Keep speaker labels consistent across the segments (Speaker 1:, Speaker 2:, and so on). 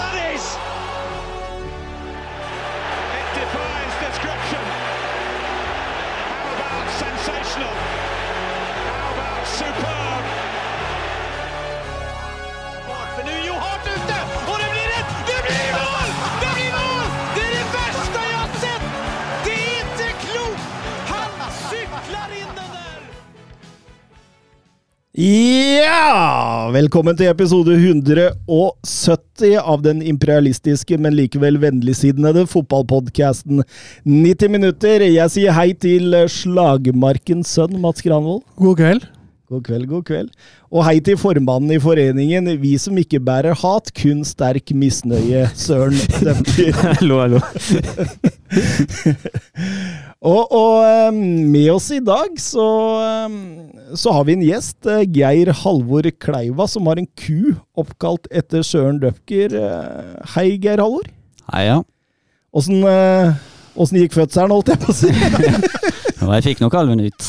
Speaker 1: that is! It defies description. How about sensational? How about superb? For nu, jo hardt ute! Og det blir et Det blir mål! Det blir mål! Det er det verste jeg har sett! Det er ikke klokt! Han sykler inn den der!
Speaker 2: Ja! Velkommen til episode 170 av den imperialistiske, men likevel vennligsidende fotballpodkasten 90 minutter. Jeg sier hei til slagmarkens sønn, Mats Granvold.
Speaker 3: God kveld.
Speaker 2: God kveld, god kveld. Og hei til formannen i foreningen, vi som ikke bærer hat, kun sterk misnøye, Søren Dømter.
Speaker 3: Hallo, hallo.
Speaker 2: Og, og eh, med oss i dag så, eh, så har vi en gjest, eh, Geir Halvor Kleiva, som har en ku oppkalt etter Søren Døpker. Eh, Hei, Geir Halvor.
Speaker 4: Hei, ja.
Speaker 2: Åssen eh, åssen gikk fødselen, holdt jeg på å si?
Speaker 4: Og jeg fikk nok alven ut.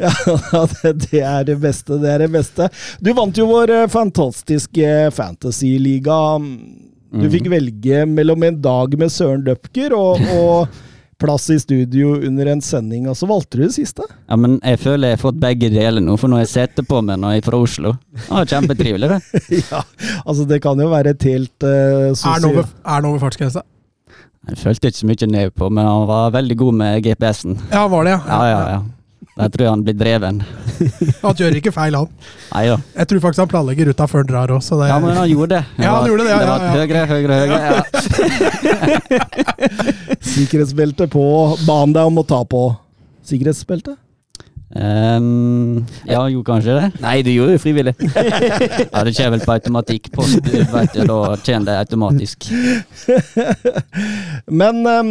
Speaker 2: ja, det, det er det beste, det er det beste. Du vant jo vår eh, fantastiske fantasyliga. Du fikk velge mellom en dag med Søren Døpker og, og plass i studio under en sending, og så valgte du det siste.
Speaker 4: Ja, men jeg føler jeg har fått begge deler nå, for nå har jeg sittet på meg når jeg er fra Oslo. Ja, Kjempetrivelig, det.
Speaker 2: Ja, altså det kan jo være et helt uh,
Speaker 3: Er den over, er den over fartsgrensa?
Speaker 4: Jeg følte ikke så mye ned på, men han var veldig god med GPS-en.
Speaker 3: Ja, var det, ja.
Speaker 4: Ja, ja, ja. Der tror jeg han blir dreven.
Speaker 3: Han gjør ikke feil, han.
Speaker 4: Nei da.
Speaker 3: Jeg tror faktisk han planlegger ruta før han drar òg, så det
Speaker 4: Ja, men han gjorde det.
Speaker 3: Ja, han
Speaker 4: var-
Speaker 3: gjorde det, ja,
Speaker 4: det
Speaker 3: ja,
Speaker 4: var
Speaker 3: ja.
Speaker 4: Høyre, høyre, høyre. Ja.
Speaker 2: Sikkerhetsbelte på. Ban deg om å ta på sikkerhetsbelte.
Speaker 4: Ehm, ja, jo, kanskje det.
Speaker 5: Nei, du gjorde det frivillig.
Speaker 4: Ja, det kommer vel på automatikk. På, du vet, jo, da kommer det automatisk.
Speaker 2: Men ehm,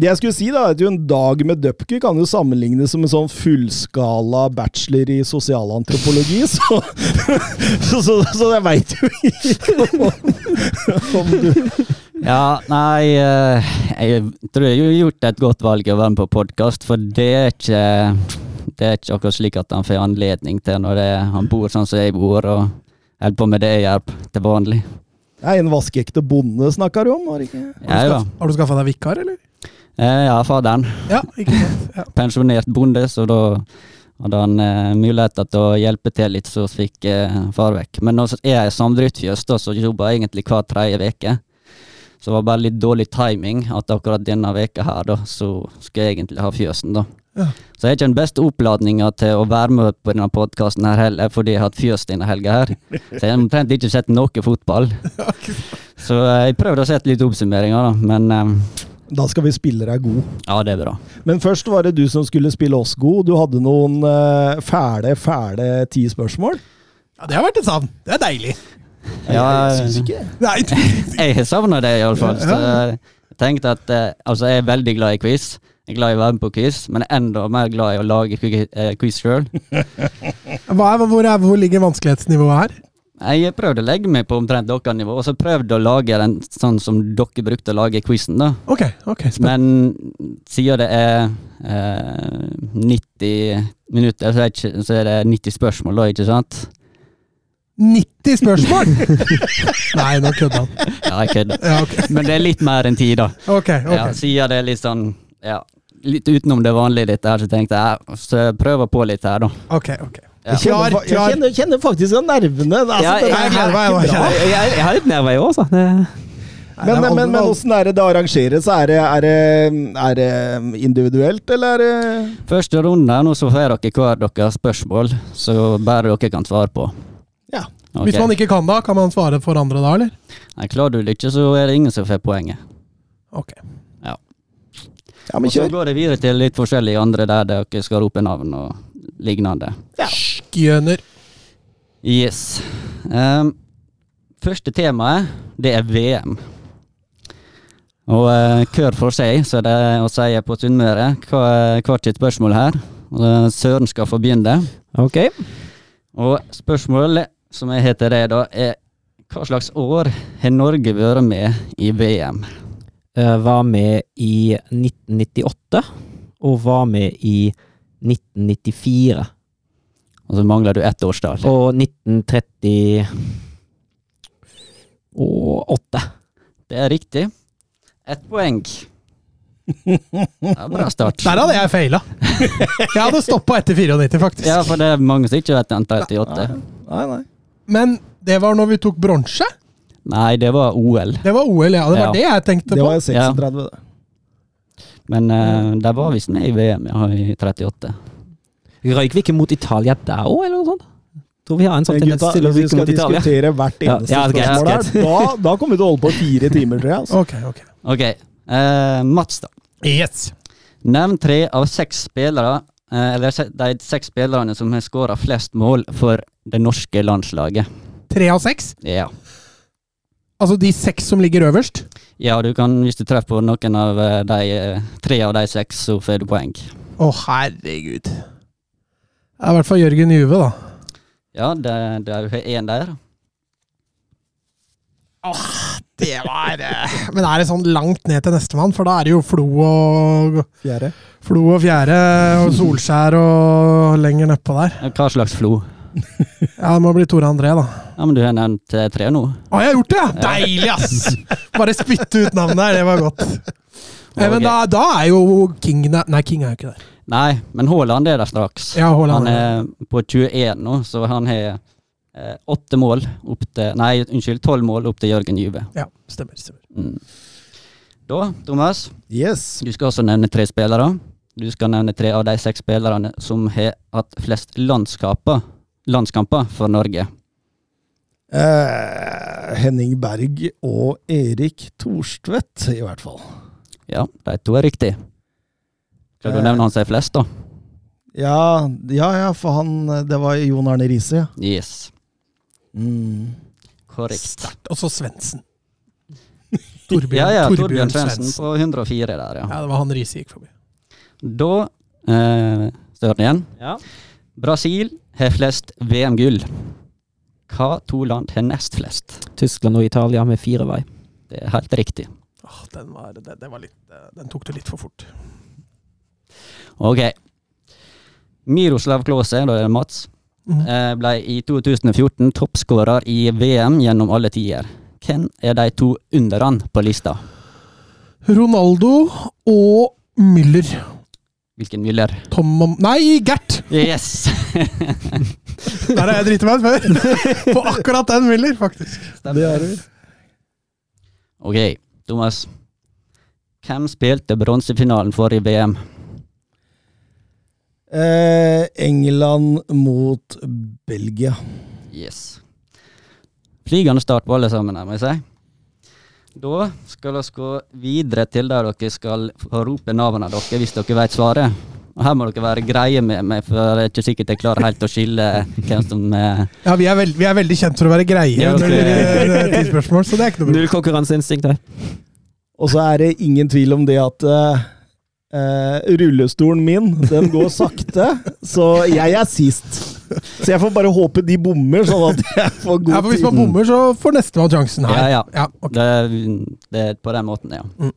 Speaker 2: det jeg skulle si, da, er at jo en dag med Dupker kan jo sammenlignes som en sånn fullskala bachelor i sosialantropologi, så Så, så, så jeg veit jo ikke om, om du
Speaker 4: Ja, nei eh, Jeg tror jeg har gjort et godt valg å være med på podkast, for det er ikke Det er ikke akkurat slik at han får anledning til når det, han bor sånn som jeg bor, og holder på med det jeg gjør til vanlig.
Speaker 2: Nei, en vaskeekte bonde snakka du om, var det ikke?
Speaker 4: Ja,
Speaker 3: Har du
Speaker 4: da.
Speaker 3: skaff- Har du skaffa deg vikar, eller?
Speaker 4: Eh, Ja, faderen.
Speaker 3: Ja, ikke sant. Ja.
Speaker 4: Pensjonert bonde, så da hadde han eh, muligheter til å hjelpe til litt, så fikk eh, far vekk. Men nå så er jeg i samdriftsfjøs, da, så jobber jeg egentlig hver tredje uke. Så det var bare litt dårlig timing at akkurat denne veka her, da, så skal jeg egentlig ha fjøsen, da.
Speaker 3: Ja.
Speaker 4: Så jeg har ikke den beste oppladninga til å være med på denne podkasten her heller, fordi jeg har hatt fjøs denne helga her. Så jeg har omtrent ikke sett noe fotball. Så eh, jeg prøvde å sette litt oppsummeringer, da, men eh,
Speaker 2: Da skal vi spille deg god.
Speaker 4: ja, det er bra.
Speaker 2: Men først var det du som skulle spille oss god. Du hadde noen eh, fæle, fæle ti spørsmål.
Speaker 3: ja, Det har vært et savn. Det er deilig.
Speaker 4: Ja,
Speaker 2: jeg syns ikke.
Speaker 3: Nei,
Speaker 4: Jeg har savna det, iallfall. Så jeg tenkte at eh, Altså, jeg er veldig glad i quiz. Jeg er glad i å være med på quiz, men enda mer glad i å lage quiz- eh, quiz sjøl.
Speaker 3: Hva er, hvor, er, hvor ligger vanskelighetsnivået her?
Speaker 4: Jeg prøvde å legge meg på omtrent deres nivå, og så prøvde å lage den sånn som dere brukte å lage quizen, da.
Speaker 3: Ok, ok. Spennende.
Speaker 4: Men siden det er eh, 90 minutter, så er, ikke, så er det 90 spørsmål, da, ikke sant?
Speaker 3: 90 spørsmål! Nei, nå kødda han.
Speaker 4: Ja, jeg kødder.
Speaker 3: Ja, ok.
Speaker 4: Men det er litt mer enn ti, da.
Speaker 3: Ok, ok.
Speaker 4: Ja, siden det er litt sånn ja, Litt utenom det vanlige litt her, så tenkte jeg så jeg prøver på litt her, da.
Speaker 3: ok, ok.
Speaker 4: Ja.
Speaker 2: Jeg kjenner, fa- jeg kjenner, kjenner faktisk av nervene. Altså,
Speaker 4: Ja,
Speaker 2: det
Speaker 3: Nei,
Speaker 2: er
Speaker 3: jeg gleder meg. Jeg,
Speaker 2: ikke bra.
Speaker 3: jeg,
Speaker 5: Jeg, jeg har litt nerver, jeg òg, så. Det-
Speaker 2: Men, men, men, men åssen er det det arrangeres? Er det, er det, er det um, individuelt, eller er det
Speaker 4: Første runde, nå så får dere hver deres spørsmål, så bare dere kan svare på.
Speaker 2: Ja.
Speaker 4: Ok.
Speaker 3: Hvis man ikke kan da, kan man svare for andre da, eller?
Speaker 4: Nei, klarer du det ikke, så er det ingen som får poenget.
Speaker 3: Ok.
Speaker 4: Ja.
Speaker 2: Ja,
Speaker 4: Og
Speaker 2: men
Speaker 4: så
Speaker 2: kjør.
Speaker 4: går det videre til litt forskjellige andre der dere skal rope navn og lignende.
Speaker 3: Skjønner.
Speaker 4: Yes. Ehm, første temaet, det er VM. Og eh, hver for seg, så det er å si på Sunnmøre hva- hvert sitt spørsmål her. Og, eh, Søren skal få begynne.
Speaker 5: Ok.
Speaker 4: Og spørsmålet som jeg heter det da, er hva slags år har Norge vært med i VM?
Speaker 5: Eh, var med i 1998, og var med i
Speaker 6: 1994
Speaker 4: Og så mangler du ett årstall.
Speaker 6: og 1938.
Speaker 4: Det er riktig. Ett poeng. Det er bra start.
Speaker 3: Der hadde jeg feila. Jeg hadde stoppa etter 94, faktisk.
Speaker 4: Ja, for det er mange som ikke vet den 38.
Speaker 2: Nei, nei.
Speaker 3: Men det var når vi tok bronse.
Speaker 4: Nei, det var OL.
Speaker 3: Det var OL, ja. Det var
Speaker 4: Ja.
Speaker 3: det jeg tenkte
Speaker 2: Det
Speaker 3: på.
Speaker 2: var 36, det.
Speaker 4: Men eh, der var visst med i VM ja, i 38.
Speaker 5: Røyk vi ikke mot Italia der òg, eller noe sånt? Tror vi har en sånn
Speaker 2: Men
Speaker 5: tendens
Speaker 2: Gutta,
Speaker 5: til å
Speaker 2: hvis vi
Speaker 5: ryke
Speaker 2: skal
Speaker 5: mot Italia.
Speaker 2: diskutere hvert
Speaker 5: Ja,
Speaker 2: eneste
Speaker 5: ja, greit,
Speaker 2: spørsmål her, da, da kommer vi til å holde på i fire timer, tror jeg. Altså.
Speaker 3: Ok, ok.
Speaker 4: Ok, eh, Mats da.
Speaker 3: Yes.
Speaker 4: Nevn tre av seks spillere, eh, eller se- de seks spillerne som har skåra flest mål for det norske landslaget.
Speaker 3: Tre av seks.
Speaker 4: Ja.
Speaker 3: Altså de seks som ligger øverst.
Speaker 4: ja, du kan, hvis du treffer på noen av eh, de eh, tre av de seks, så får du poeng.
Speaker 3: Å, herregud. Det er i hvert fall Jørgen Juve, da.
Speaker 4: Ja, det, det er jo én der.
Speaker 3: Det var Men er det sånn langt ned til nestemann? For da er det jo Flo og
Speaker 2: Fjerde.
Speaker 3: Flo og Fjære og Solskjær og lenger nedpå der.
Speaker 4: Hva slags flo?
Speaker 3: Ja, det må bli Tore André, da.
Speaker 4: Ja, men du har nevnt eh, tre nå.
Speaker 3: Å, jeg har gjort det! ja! Deilig, ass! Bare spytte ut navnet her, det var godt. Eh, Men da, da er jo King der. Nei, King er jo ikke der.
Speaker 4: Nei, men Haaland er der straks.
Speaker 3: Ja,
Speaker 4: Han
Speaker 3: Haaland. er-
Speaker 4: er på 21 nå, så han har eh, åtte mål opp til Nei, unnskyld, tolv mål opp til Jørgen Juve.
Speaker 3: Ja, stemmer. stemmer.
Speaker 4: Mm. Da, Thomas,
Speaker 2: Yes.
Speaker 4: du skal også nevne tre spillere. Du skal nevne tre av de seks spillerne som har hatt flest landskamper, landskamper for Norge.
Speaker 2: Eh, Henning Berg og Erik Thorstvedt, i hvert fall.
Speaker 4: Ja, de to er riktig. Skal du nevne han som er flest, da?
Speaker 2: Ja, ja, ja, for han Det var Jon Arne Riise, ja.
Speaker 4: Yes.
Speaker 2: Mm.
Speaker 4: Korrekt.
Speaker 3: Sterkt. Og så Svendsen. Torbjørn,
Speaker 4: Ja, ja,
Speaker 3: Torbjørn
Speaker 4: Torbjørn Svendsen
Speaker 3: Svendsen.
Speaker 4: på 104 der, ja.
Speaker 3: Ja, det var han Riise gikk forbi.
Speaker 4: Da eh, står den igjen.
Speaker 5: Ja.
Speaker 4: Brasil har flest VM-gull. Hva to land har nest flest?
Speaker 5: Tyskland og Italia med fire vei.
Speaker 4: Det er helt riktig.
Speaker 3: Åh, den, var, det, det var litt, eh, den tok du litt for fort.
Speaker 4: Ok. Miroslav Klause, da er det Mats,
Speaker 3: Mhm.
Speaker 4: eh, ble i 2014 toppskårer i VM gjennom alle tider. Hvem er de to underne på lista?
Speaker 3: Ronaldo og Müller.
Speaker 4: Hvilken Müller?
Speaker 3: Tom og Nei, Gert!
Speaker 4: Yes!
Speaker 3: Der har jeg driti meg ut før. På akkurat den Müller, faktisk.
Speaker 2: Det er det.
Speaker 4: Ok, Thomas. Hvem spilte bronsefinalen for i VM?
Speaker 2: Eh, England mot Belgia.
Speaker 4: Yes. Flygende start på alle sammen, her, må jeg si. Da skal vi gå videre til der dere skal få rope navnene deres hvis dere vet svaret. Og her må dere være greie med meg, for det er ikke sikkert jeg klarer helt å skille hvem som eh,
Speaker 3: Ja, vi er, veld, vi er veldig kjent for å være greie
Speaker 4: Ja,
Speaker 3: når
Speaker 4: ok.
Speaker 3: det gjelder eh, tidsspørsmål, så det er ikke
Speaker 2: Mm.
Speaker 3: noe problem.
Speaker 5: Null konkurranseinstinkt her.
Speaker 2: Og så er det ingen tvil om det at eh, eh, rullestolen min, den går sakte, så jeg er sist. Så jeg får bare håpe de bommer, sånn at jeg får
Speaker 3: Ja,
Speaker 2: god
Speaker 3: for hvis man bommer, så får nestemann sjansen her.
Speaker 4: Ja, ja.
Speaker 3: ok.
Speaker 4: det, det er på den måten, ja.
Speaker 3: Mm.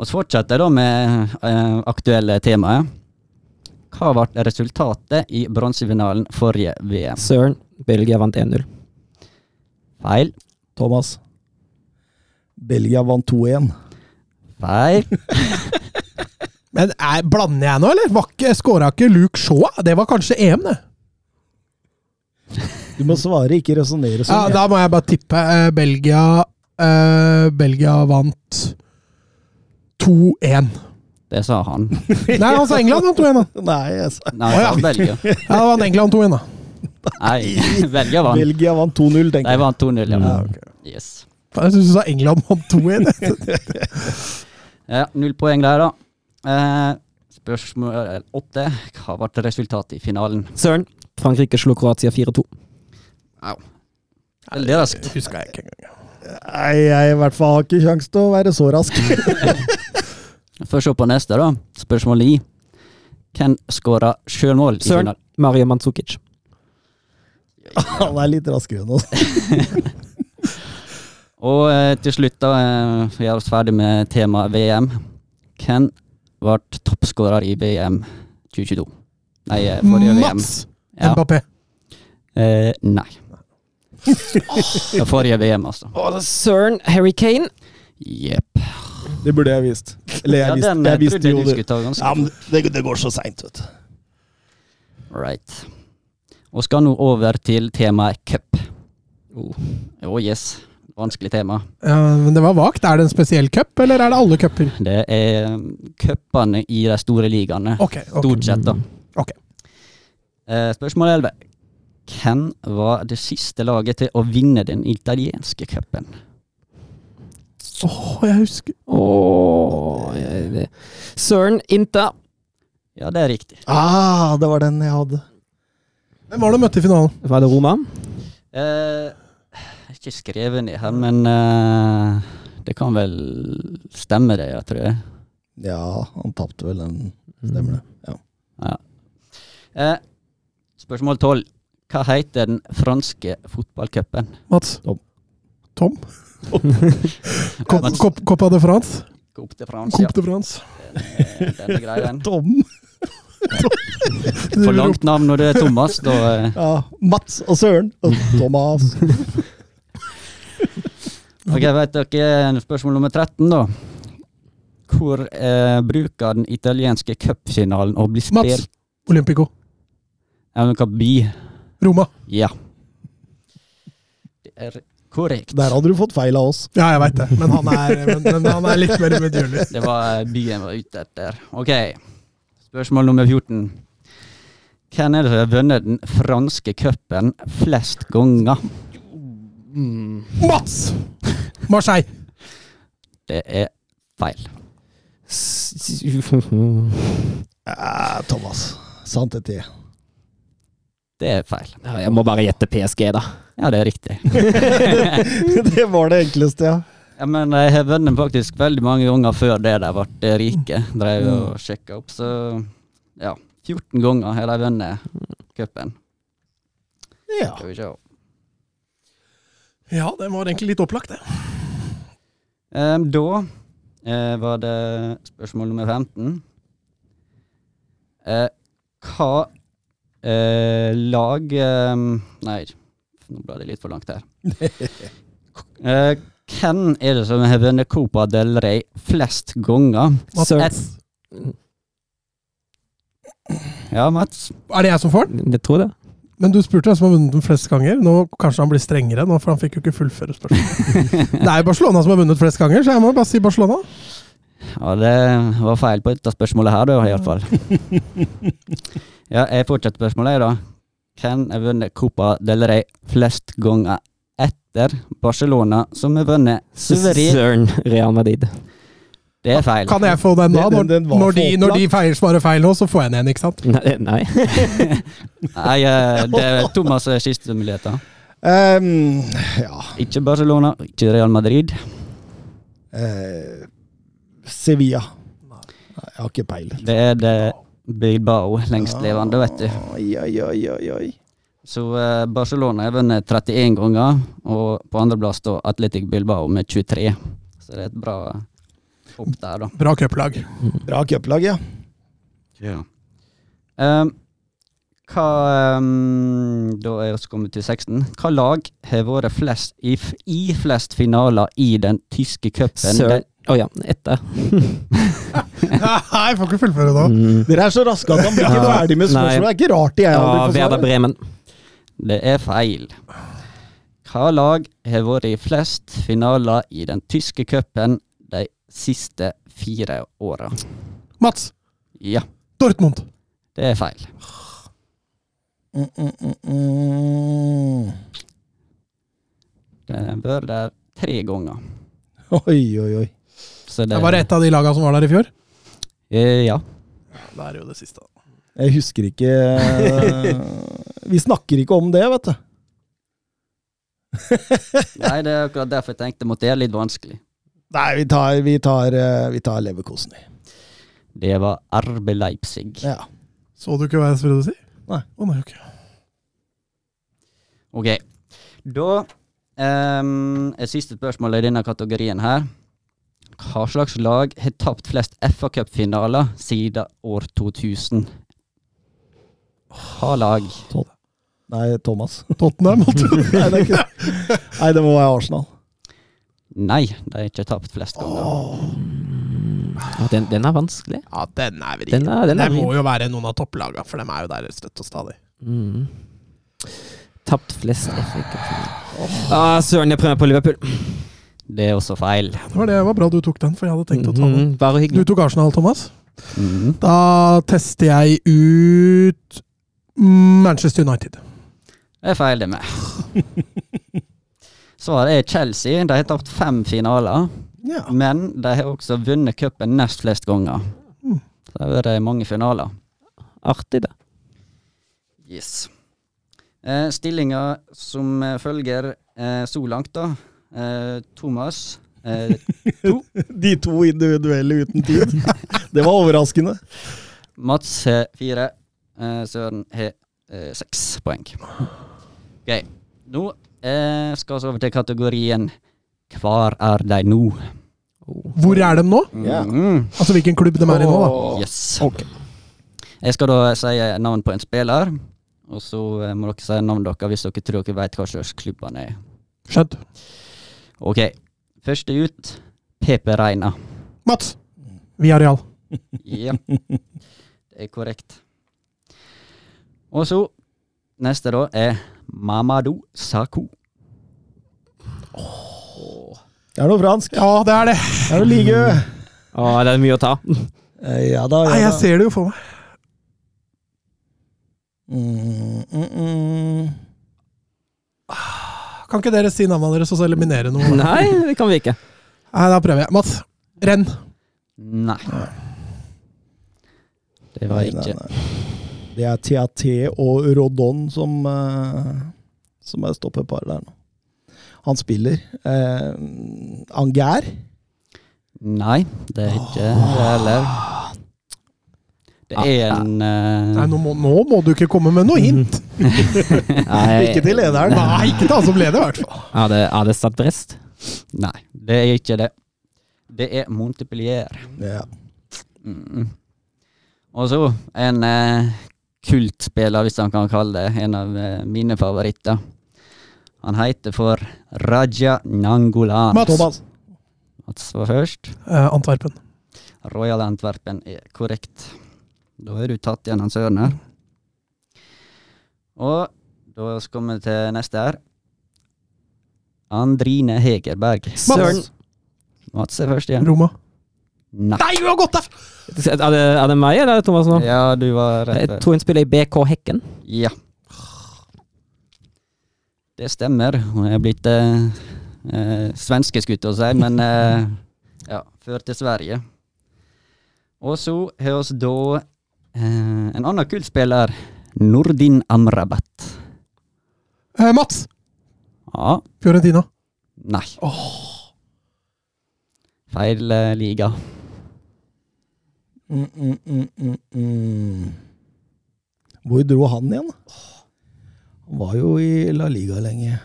Speaker 4: Og så fortsetter jeg da med eh, aktuelle temaer. Hva ble resultatet i bronsefinalen forrige VM?
Speaker 5: Søren, Belgia vant 1-0.
Speaker 4: Feil.
Speaker 2: Thomas. Belgia vant 2-1.
Speaker 4: Feil.
Speaker 3: Men er, blander jeg nå, eller? Var ikke- Skåra ikke Luke Shaw? Det var kanskje EM, det.
Speaker 2: Du må svare, ikke resonnere
Speaker 3: Ja,
Speaker 2: sånn.
Speaker 3: da må jeg bare tippe. eh, Belgia eh, Belgia vant 2-1.
Speaker 4: Det sa han.
Speaker 3: Nei, han sa England vant 2-1, da.
Speaker 2: Nei, jeg sa
Speaker 4: Nei,
Speaker 3: Å, ja.
Speaker 4: sa Belgia.
Speaker 3: Ja, det var England 2-1, da.
Speaker 4: Nei, Belgia vant.
Speaker 2: Belgia vant 2-0,
Speaker 4: De
Speaker 2: tenker jeg.
Speaker 4: vant 2-0, ja. Yes.
Speaker 3: Faen, Jeg syns du sa England vant 2-1.
Speaker 4: ja. Null poeng der, da. Eh, spørsmål åtte. Hva ble resultatet i finalen?
Speaker 5: Søren, Frankrike slo Kroatia 4-2.
Speaker 4: Veldig raskt.
Speaker 3: Husker jeg ikke engang.
Speaker 2: Nei, jeg i hvert fall har ikke kjangs til å være så rask.
Speaker 4: Får se på neste, da. Spørsmål ni. Hvem skåra sjølmål i
Speaker 5: Søren.
Speaker 4: finalen?
Speaker 5: Mario Mandzukic.
Speaker 2: Han er litt raskere enn oss.
Speaker 4: Og eh, til slutt, da, eh, vi er oss ferdig med temaet VM. Hvem ble toppskårer i VM 2022. Nei, eh, forrige VM.
Speaker 3: Mats
Speaker 4: Ja.
Speaker 3: Mbappé.
Speaker 4: Eh, nei. Det forrige VM, altså.
Speaker 6: Å, søren! Harry Kane.
Speaker 4: Jepp.
Speaker 2: Det burde jeg visst. Eller
Speaker 4: Ja,
Speaker 2: jeg visste,
Speaker 4: den eh,
Speaker 2: jeg visste
Speaker 4: trodde
Speaker 2: jo
Speaker 4: jeg du
Speaker 2: det.
Speaker 4: skulle ta altså. ganske
Speaker 2: Ja, men det, det går så seint, vet du.
Speaker 4: Right. Og skal nå over til temaet cup. Å yes. Vanskelig tema.
Speaker 3: Ja, men det var vagt. Er det en spesiell cup, eller er det alle cuper?
Speaker 4: Det er um, cupene i de store ligaene.
Speaker 3: Ok, ok.
Speaker 4: Stort sett, da.
Speaker 3: Ok.
Speaker 4: Eh, Spørsmål 11. Hvem var det siste laget til å vinne den italienske cupen?
Speaker 3: Åh, jeg husker
Speaker 6: Åh, jeg- det- Søren Inter.
Speaker 4: Ja, det er riktig.
Speaker 2: Ah, det var den jeg hadde.
Speaker 3: Hvem var det du møtte i finalen?
Speaker 5: Var det Roma?
Speaker 4: Eh, ikke skrevet ned her, men eh, det kan vel stemme, det, jeg tror jeg.
Speaker 2: Ja, han tapte vel den. Stemmer det. Ja.
Speaker 4: Eh, spørsmål 12. Hva heter den franske fotballcupen?
Speaker 3: Mats?
Speaker 2: Tom.
Speaker 3: Tom? Cop,
Speaker 4: Mats.
Speaker 3: cop, Copa de France?
Speaker 4: Coupe de France, ja.
Speaker 3: Coupe de France.
Speaker 4: Eh, Denne greien.
Speaker 2: Tom.
Speaker 4: For langt navn når det er Thomas, da eh,
Speaker 2: Ja, Mats og Søren. Og Thomas.
Speaker 4: Ok, vet dere spørsmål nummer 13, da? Hvor eh, bruker den italienske cupfinalen å bli
Speaker 3: Mats.
Speaker 4: spilt?
Speaker 3: Olympico.
Speaker 4: Ja, men hva by?
Speaker 3: Roma.
Speaker 4: Ja. Det er korrekt.
Speaker 2: Der hadde du fått feil av oss.
Speaker 3: Ja, jeg veit det, men han er, men, men han er litt mer medgjørlig.
Speaker 4: Det var eh, byen var ute etter. Ok, spørsmål nummer 14. Hvem er det som har vunnet den franske cupen flest ganger?
Speaker 3: Mats! Marseille.
Speaker 4: Det er feil.
Speaker 6: S- s-
Speaker 2: Ja, Thomas. Sant det til.
Speaker 4: Det er feil.
Speaker 6: Ja, Jeg må bare gjette PSG, da.
Speaker 4: Ja, det er riktig.
Speaker 2: Det var det enkleste, ja.
Speaker 4: Ja, men jeg har vunnet faktisk veldig mange ganger før det de ble eh, rike. Drev og sjekka opp, så ja. 14 ganger har de vunnet cupen.
Speaker 2: ja.
Speaker 4: Skal vi se.
Speaker 3: Ja, det var egentlig litt opplagt, det.
Speaker 4: Em, Ehm, da eh, var det spørsmål nummer 15. Eh, hva eh, lag em, Nei, nå ble det litt for langt her. eh, hvem er det som har vunnet Copa del Rey flest ganger?
Speaker 3: Mats.
Speaker 4: Et- Ja, Mats.
Speaker 3: Er det jeg som får den?
Speaker 5: Jeg tror det.
Speaker 3: Men du spurte hvem som har vunnet den flest ganger. Nå Kanskje han blir strengere, nå, for han fikk jo ikke fullføre spørsmålet. det er jo Barcelona som har vunnet flest ganger, så jeg må bare si Barcelona.
Speaker 4: Ja, det var feil på dette spørsmålet her, da, iallfall. ja, jeg fortsetter spørsmålet, jeg, da. Hvem har vunnet Copa del Rey flest ganger etter Barcelona, som har vunnet suverent?
Speaker 6: Søren Real Madrid.
Speaker 4: Det er feil.
Speaker 3: Kan jeg få den da?
Speaker 2: Den-
Speaker 3: Når,
Speaker 2: den- den var
Speaker 3: når, de,
Speaker 2: for
Speaker 3: når de feil, svarer feil nå, så får jeg den igjen, ikke sant?
Speaker 6: Nei, nei.
Speaker 4: Nei, eh, det er Thomas' siste muligheter.
Speaker 2: Ehm, ja.
Speaker 4: Ikke Barcelona, ikke Real Madrid.
Speaker 2: Eh, Sevilla. Nei, Jeg har ikke peiling.
Speaker 4: Det er det Bilbao, lengstlevende, vet du.
Speaker 2: Ah, Oi, oi, oi, oi, oi.
Speaker 4: Så eh, Barcelona har vunnet 31 ganger, og på andreplass da Atletic Bilbao med 23. Så det er et bra hopp der, da.
Speaker 3: Bra cuplag.
Speaker 2: Bra cuplag, ja.
Speaker 4: Ehm, hva ehm, Da er vi kommet til 16. Hva lag har vært flest i, f i flest finaler i den tyske cupen?
Speaker 6: Søren Å ja, etter.
Speaker 3: Nei, jeg får ikke fullføre nå.
Speaker 6: Mm.
Speaker 2: Dere er så raske at han blir ikke
Speaker 6: Ja.
Speaker 2: ferdig med spørsmålet. Det er ikke rart jeg
Speaker 6: Ja,
Speaker 2: aldri får
Speaker 6: Werder
Speaker 2: svar.
Speaker 6: Bremen.
Speaker 4: Den- Det er feil. Hva lag har vært i flest finaler i den tyske cupen de siste fire åra?
Speaker 3: Mats.
Speaker 4: Ja,
Speaker 3: Dortmund.
Speaker 4: det er feil.
Speaker 2: Mm, mm, mm, mm.
Speaker 4: Den har vært der tre ganger.
Speaker 2: Oi, oi, oi.
Speaker 4: Så det
Speaker 3: Det var et av de lagene som var der i fjor.
Speaker 4: Eh, ja.
Speaker 3: Det er jo det siste.
Speaker 2: Jeg husker ikke eh, Vi snakker ikke om det, vet du.
Speaker 4: Nei, det er akkurat derfor jeg tenkte at det er litt vanskelig.
Speaker 2: Nei, vi tar, vi tar, eh, vi tar leverkosen. vi.
Speaker 4: Det var RB Leipzig.
Speaker 2: Ja.
Speaker 3: Så du ikke hva jeg skulle si?
Speaker 2: Nei.
Speaker 3: Å nei, ok.
Speaker 4: Ok. Da ehm, er siste spørsmål i denne kategorien her. Hva slags lag har tapt flest FA Cup-finaler siden år 2000? Ha lag.
Speaker 2: Nei, Thomas.
Speaker 3: Tottenham måtte du
Speaker 2: Nei, det, er ikke. det. Nei, det må være Arsenal.
Speaker 4: Nei, de har ikke tapt flest ganger.
Speaker 6: Ja, den, den er vanskelig.
Speaker 7: Ja, den er vrien.
Speaker 6: Den er, den
Speaker 7: Det
Speaker 6: er
Speaker 7: må jo være noen av topplagene, for de er jo der støtt og stadig.
Speaker 6: Mm. Tapt flest FA Cup. Ah, søren, jeg prøver på Liverpool.
Speaker 4: Det er også feil.
Speaker 3: Det var, det, det var bra du tok den, for jeg hadde tenkt å ta den.
Speaker 6: Mhm, Bare
Speaker 3: Du
Speaker 6: hyggelig.
Speaker 3: tok Arsenal, Thomas.
Speaker 4: Mhm.
Speaker 3: Da tester jeg ut Manchester United.
Speaker 4: Det er feil, det med. Svaret er Chelsea. De har tapt fem finaler,
Speaker 3: Ja.
Speaker 4: men de har også vunnet cupen nest flest ganger.
Speaker 3: Mm.
Speaker 4: Så det har vært mange finaler.
Speaker 6: Artig, det.
Speaker 4: Yes. Eh, Stillinga som eh, følger eh, så langt, da. Eh, Thomas eh,
Speaker 2: De to individuelle uten tid. Det var overraskende.
Speaker 4: Mats har fire. Eh, Søren har eh, seks poeng. Ok, Nå eh, skal vi over til kategorien Hvor er de nå?
Speaker 3: Hvor er de nå?
Speaker 2: Ja.
Speaker 4: Mhm.
Speaker 3: Altså hvilken klubb de er i nå, da.
Speaker 4: Yes. Jeg skal da si eh, navn på en spiller, og så eh, må dere si navnet deres hvis dere tror dere vet hva slags klubb han er.
Speaker 3: Skjønt.
Speaker 4: Ok, første ut Pepe Reina.
Speaker 3: Mats! Villarreal.
Speaker 4: Ja, det er korrekt. Og så neste da er Mamadou Saku.
Speaker 2: Det er noe fransk.
Speaker 3: Ja, det er det.
Speaker 2: Det er noe lige.
Speaker 6: Mm. Å, det er mye å ta.
Speaker 2: Eh, Ja da,
Speaker 3: Nei,
Speaker 2: ja
Speaker 3: jeg
Speaker 2: da.
Speaker 3: ser det jo for meg.
Speaker 2: Mm, mm, mm.
Speaker 3: Kan ikke dere si navnene deres og så eliminere noe? Nei,
Speaker 6: Nei, det kan vi ikke.
Speaker 3: da prøver jeg. Mats. Renn.
Speaker 4: Nei. Det var
Speaker 2: Nei,
Speaker 4: ikke
Speaker 2: nei, nei. Det er TAT og Rodon som, eh, som er stoppeparet der nå. Han spiller. Eh, Anger.
Speaker 4: Nei, det er ikke det heller. Det er
Speaker 2: Ah.
Speaker 4: en
Speaker 3: Nei,
Speaker 4: eh,
Speaker 3: nå må, nå må du ikke komme med noe hint!
Speaker 2: Ikke til lederen.
Speaker 3: Nei, ikke ta han som leder, i hvert fall.
Speaker 6: Er det, er det Stad Brest?
Speaker 4: Nei, det er ikke det. Det er Montepellier.
Speaker 2: Ja.
Speaker 4: Mm. Og så en eh, kultspiller, hvis han kan kalle det. En av eh, mine favoritter. Han heter for Raja Nangolan.
Speaker 3: Mats.
Speaker 2: Thomas.
Speaker 4: Mats var først.
Speaker 3: Eh, Antwerpen.
Speaker 4: Royal Antwerpen er korrekt. Da er du tatt igjen, Hans Ørn her. Og da skal vi til neste her. Andrine Hegerberg.
Speaker 6: Søren!
Speaker 4: Mats er først igjen.
Speaker 3: Roma.
Speaker 4: Nei.
Speaker 3: Nei, du har gått der!
Speaker 6: Er det, er det meg eller er det Thomas nå?
Speaker 4: Ja, du var rett.
Speaker 6: Jeg Eh, tror hun spiller i BK Hekken.
Speaker 4: Ja. Det stemmer. Hun er blitt eh, eh, svenske, skulle jeg til å si, men eh, ja, ført til Sverige. Og så har vi da eh, en annen kul spiller, Nordin Amrabat.
Speaker 3: Eh, Mats.
Speaker 4: Ja,
Speaker 3: Fiorentina.
Speaker 4: nei. Feil eh, liga.
Speaker 2: Mm, mm, mm, mm, mm. Hvor dro han igjen? da? Han var jo i La Liga lenge.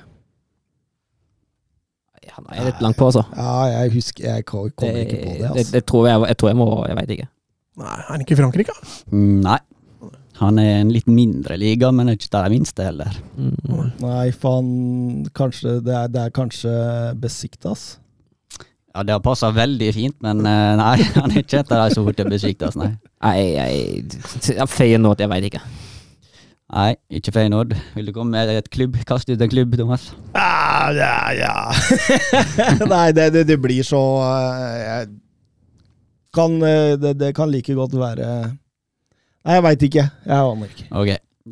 Speaker 6: Han er litt langt på, altså.
Speaker 2: Ja, jeg husker Jeg kom kom ikke på det.
Speaker 6: det,
Speaker 2: Altså.
Speaker 6: det tror jeg, jeg tror jeg må Jeg veit ikke.
Speaker 3: Nei, er han ikke i Frankrike? da?
Speaker 4: Mm, Nei. Han er en litt mindre liga, men er ikke det minste heller.
Speaker 6: Mm.
Speaker 2: Nei, faen Kanskje Det er, det er kanskje Besiktas.
Speaker 4: Ja, Det har passa veldig fint, men eh, nei, han er ikke etter de som hurtig besiktes, nei.
Speaker 6: Nei, jeg Feier nå at jeg veit ikke.
Speaker 4: Nei, ikke Feyenoord. Vil du komme med et klubb? Kast ut en klubb, Thomas.
Speaker 2: Ah, ja, ja. Nei, det, det, det blir så eh, jeg kan, eh, det, det kan like godt være Nei, jeg veit ikke. Jeg aner ikke.
Speaker 4: Ok.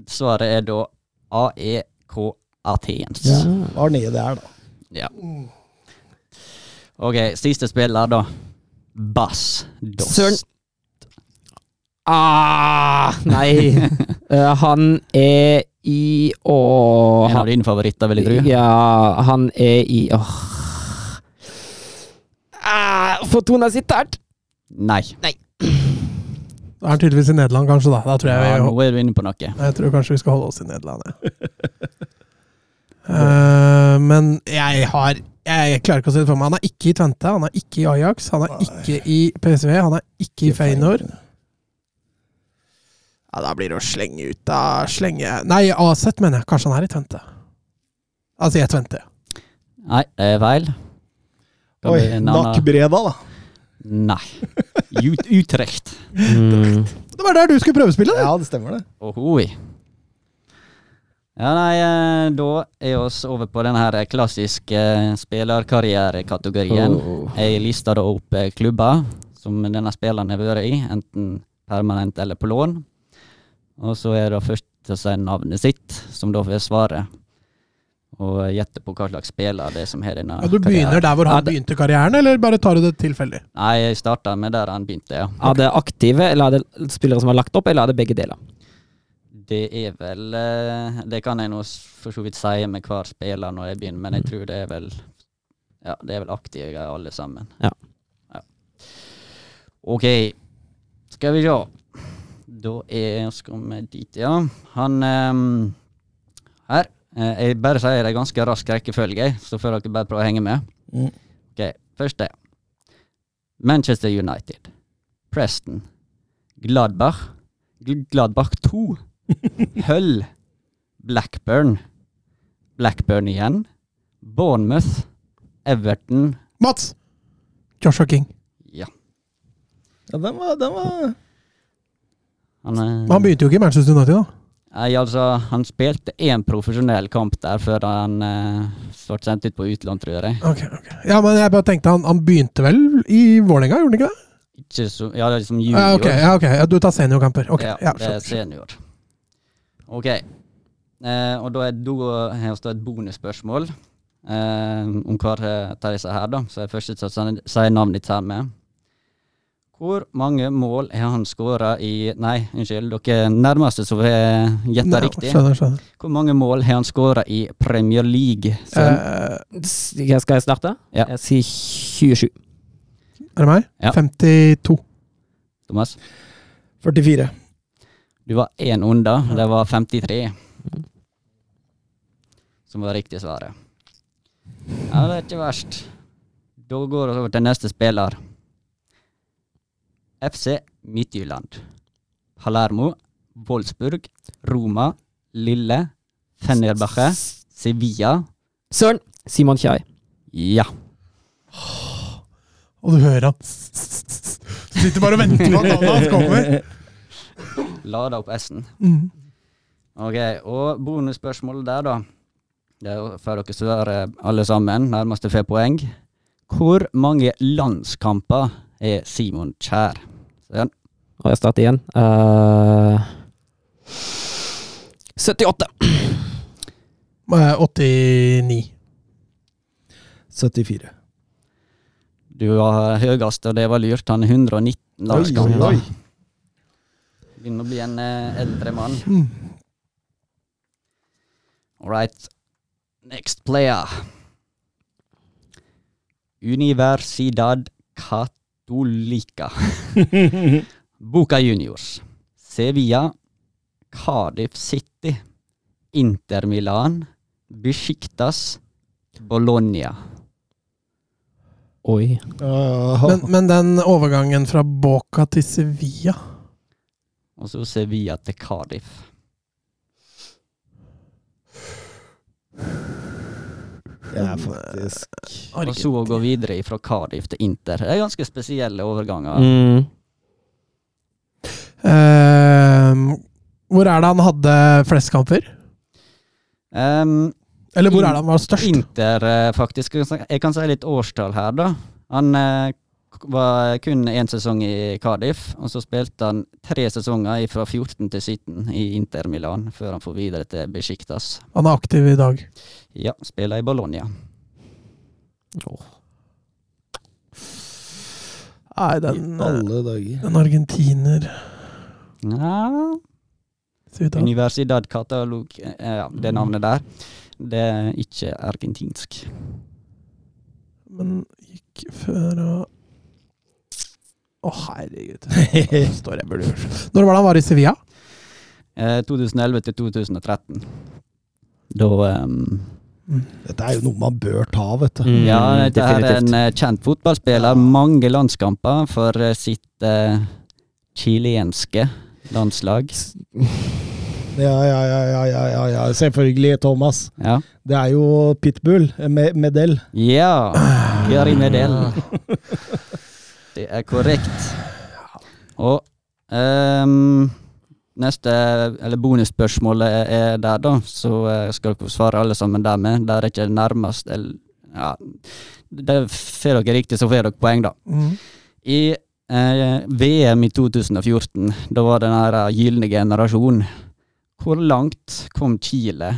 Speaker 4: Svaret er da AEK Athens.
Speaker 2: Hva er det det er, da?
Speaker 4: Ok, siste spiller, da. Bass Dost.
Speaker 6: Søren. Ah, nei. Eh, han er i Å
Speaker 4: En av
Speaker 6: han,
Speaker 4: dine favoritter, vil jeg tro.
Speaker 6: Ja, han er i Åh. Ah, Fortuna sittert!
Speaker 4: Nei.
Speaker 3: Det er tydeligvis i Nederland, kanskje. Da Da tror jeg,
Speaker 4: Ja,
Speaker 3: vi,
Speaker 4: nå er du inne på noe.
Speaker 3: jeg tror kanskje vi skal holde oss i Nederland, ja. Eh, men jeg har Jeg klarer ikke å se det for meg. Han er ikke i Twente, han er ikke i Ajax, han er ikke i PSV, han er ikke i Feyenoord.
Speaker 7: Ja, da blir det å slenge ut da, slenge
Speaker 3: Nei, Aset, mener jeg. Kanskje han er i Tvente. Altså, jeg er Tvente.
Speaker 4: Nei, det er feil. Da
Speaker 2: Oi,
Speaker 4: blir det en annen-
Speaker 2: Nakkbreda, da.
Speaker 4: Nei. Ut Utrecht.
Speaker 6: Mm.
Speaker 3: Det var der du skulle prøvespille, det!
Speaker 2: Ja, det stemmer det.
Speaker 4: Ohoi. Ja, nei, eh, da er vi over på den her klassiske eh, spillerkarrierekategorien.
Speaker 6: Oh.
Speaker 4: Jeg lista da opp eh, klubber som denne spilleren har vært i, enten permanent eller på lån. Og så er det først til å si navnet sitt, som da får svare. Og gjette på hva slags spiller det er som har denne
Speaker 3: Ja, du begynner der hvor
Speaker 4: Ja,
Speaker 3: han
Speaker 4: det-
Speaker 3: begynte karrieren, eller bare tar du det tilfeldig?
Speaker 4: Nei, jeg starta med der han begynte, ja.
Speaker 6: Er det aktive, eller er det spillere som er lagt opp, eller er det begge deler?
Speaker 4: Det er vel eh, Det kan jeg nå s- for så vidt si med hver spiller når jeg begynner, men jeg tror det er vel Ja, det er vel aktive alle sammen.
Speaker 6: Ja.
Speaker 4: Ja. Ok, skal vi se. Da er skal vi dit, ja. Han ehm, Her. Eh, jeg bare sier det i ganske rask rekkefølge, så får dere bare prøve å henge med.
Speaker 2: Mm.
Speaker 4: Ok, Første. Manchester United. Preston. Gladbach. Gl- Gladbach 2. Hull. Blackburn. Blackburn igjen. Bournemouth. Everton.
Speaker 3: Mats! Joshua King.
Speaker 4: Ja.
Speaker 2: Ja, den var, den var
Speaker 4: Han, eh,
Speaker 3: Men han begynte jo ikke i Manchester United, da.
Speaker 4: nei, altså, han spilte én profesjonell kamp der før han eh, ble sendt ut på utlån, tror jeg.
Speaker 3: Ok, ok. Ja, men jeg bare tenkte han, han begynte vel i Vålerenga, gjorde han ikke det?
Speaker 4: Ikke så, ja, det er liksom junior.
Speaker 3: Ja, Ah, ok, ja, ok. Ja, du tar seniorkamper. Ok,
Speaker 4: ja,
Speaker 3: ja,
Speaker 4: det er
Speaker 3: skjønner.
Speaker 4: senior. Ok. Eh, og da er da har vi da et bonusspørsmål eh, om hver eh, av disse her, da. Så jeg først til å sen- si navnet ditt her med. Hvor mange mål har han skåra i Nei, unnskyld, dere nærmeste som har gjetta
Speaker 3: Nei,
Speaker 4: riktig.
Speaker 3: Skjønner, skjønner.
Speaker 4: Hvor mange mål har han skåra i Premier League? Så,
Speaker 3: Eh,
Speaker 6: S- jeg- Skal jeg starte?
Speaker 4: Ja.
Speaker 6: Jeg sier 27.
Speaker 3: er det meg?
Speaker 4: Ja.
Speaker 3: 52.
Speaker 4: Thomas,
Speaker 2: 44.
Speaker 4: du var én under. Det var 53 som var riktig svaret. Ja, det er ikke verst. Da går vi over til neste spiller. FC Midtjylland. Palermo, Wolfsburg, Roma, Lille, Fenerbahçe, Sevilla.
Speaker 6: Søren! Simon Kjai.
Speaker 4: Ja.
Speaker 3: Og du hører han Sitter bare og venter på at navnet hans kommer.
Speaker 4: Lada opp S-en.
Speaker 3: Mm.
Speaker 4: Ok, og bonusspørsmålet der, da. Det er jo før dere svarer eh, alle sammen, nærmeste får poeng. Hvor mange landskamper er Simon Kjær? Sånn.
Speaker 6: Og jeg starter igjen. Eh, 78.
Speaker 3: Eh, 89.
Speaker 2: 74.
Speaker 4: Du var høyest, og det var lurt. Han er
Speaker 2: Oi,
Speaker 4: 119
Speaker 2: oi,
Speaker 4: landskamper.
Speaker 2: oi.
Speaker 4: Begynner å bli en eh, eldre mann.
Speaker 3: Mm.
Speaker 4: All right. Next player. Universidad Catolica. Boca Juniors. Sevilla. Cardiff City. Inter Milan. Besiktas. Bologna.
Speaker 6: Oi.
Speaker 2: Åh.
Speaker 3: Men, men den overgangen fra Boca til Sevilla
Speaker 4: Og så Sevilla til Cardiff.
Speaker 2: Det er faktisk
Speaker 4: Og så å gå videre fra Cardiff til Inter. Det er ganske spesielle overganger.
Speaker 6: Mm.
Speaker 3: Eh, Hvor er det han hadde flest kamper?
Speaker 4: Um,
Speaker 3: Eller hvor
Speaker 4: In-
Speaker 3: er det han var størst?
Speaker 4: Inter, eh, faktisk. Jeg kan si- Jeg kan si litt årstall her, da. Han eh, k- var kun én sesong i Cardiff, og så spilte han tre sesonger fra 14 til 17 i Inter Milan, før han får videre til Besiktas.
Speaker 3: Han er aktiv i dag.
Speaker 4: Ja, spiller i Bologna.
Speaker 3: Nei, den, eh,
Speaker 2: alle dager.
Speaker 3: den argentiner
Speaker 4: Ja.
Speaker 3: ser ut til å-
Speaker 4: Universidad Catalog... eh, Ja, det navnet der. Det er ikke argentinsk.
Speaker 3: Men gikk før og Å, herregud. Jeg Står jeg burde gjøre. Når var det han var i Sevilla?
Speaker 4: Eh, 2011 til 2013. Da ehm,
Speaker 2: Dette er jo noe man bør ta, vet du.
Speaker 6: Mm,
Speaker 4: Ja, dette her er
Speaker 6: definitivt.
Speaker 4: en eh, kjent fotballspiller. Mange landskamper for eh, sitt eh, chilenske Landslag.
Speaker 2: Ja, ja, ja, ja, ja, ja, ja. Selvfølgelig, Thomas.
Speaker 4: Ja.
Speaker 2: Det er jo Pitbull med Medell.
Speaker 4: Ja, Gary Medel. Det er korrekt. Og ehm, neste, eller bonusspørsmålet er- er der, da. Så eh, skal dere svare alle sammen dermed. Der er ikke nærmest eller, ja, det Får dere riktig, så får dere poeng, da.
Speaker 3: Mhm.
Speaker 4: I eh, VM i 2014, da var det den her eh, gylne generasjon. Hvor langt kom Chile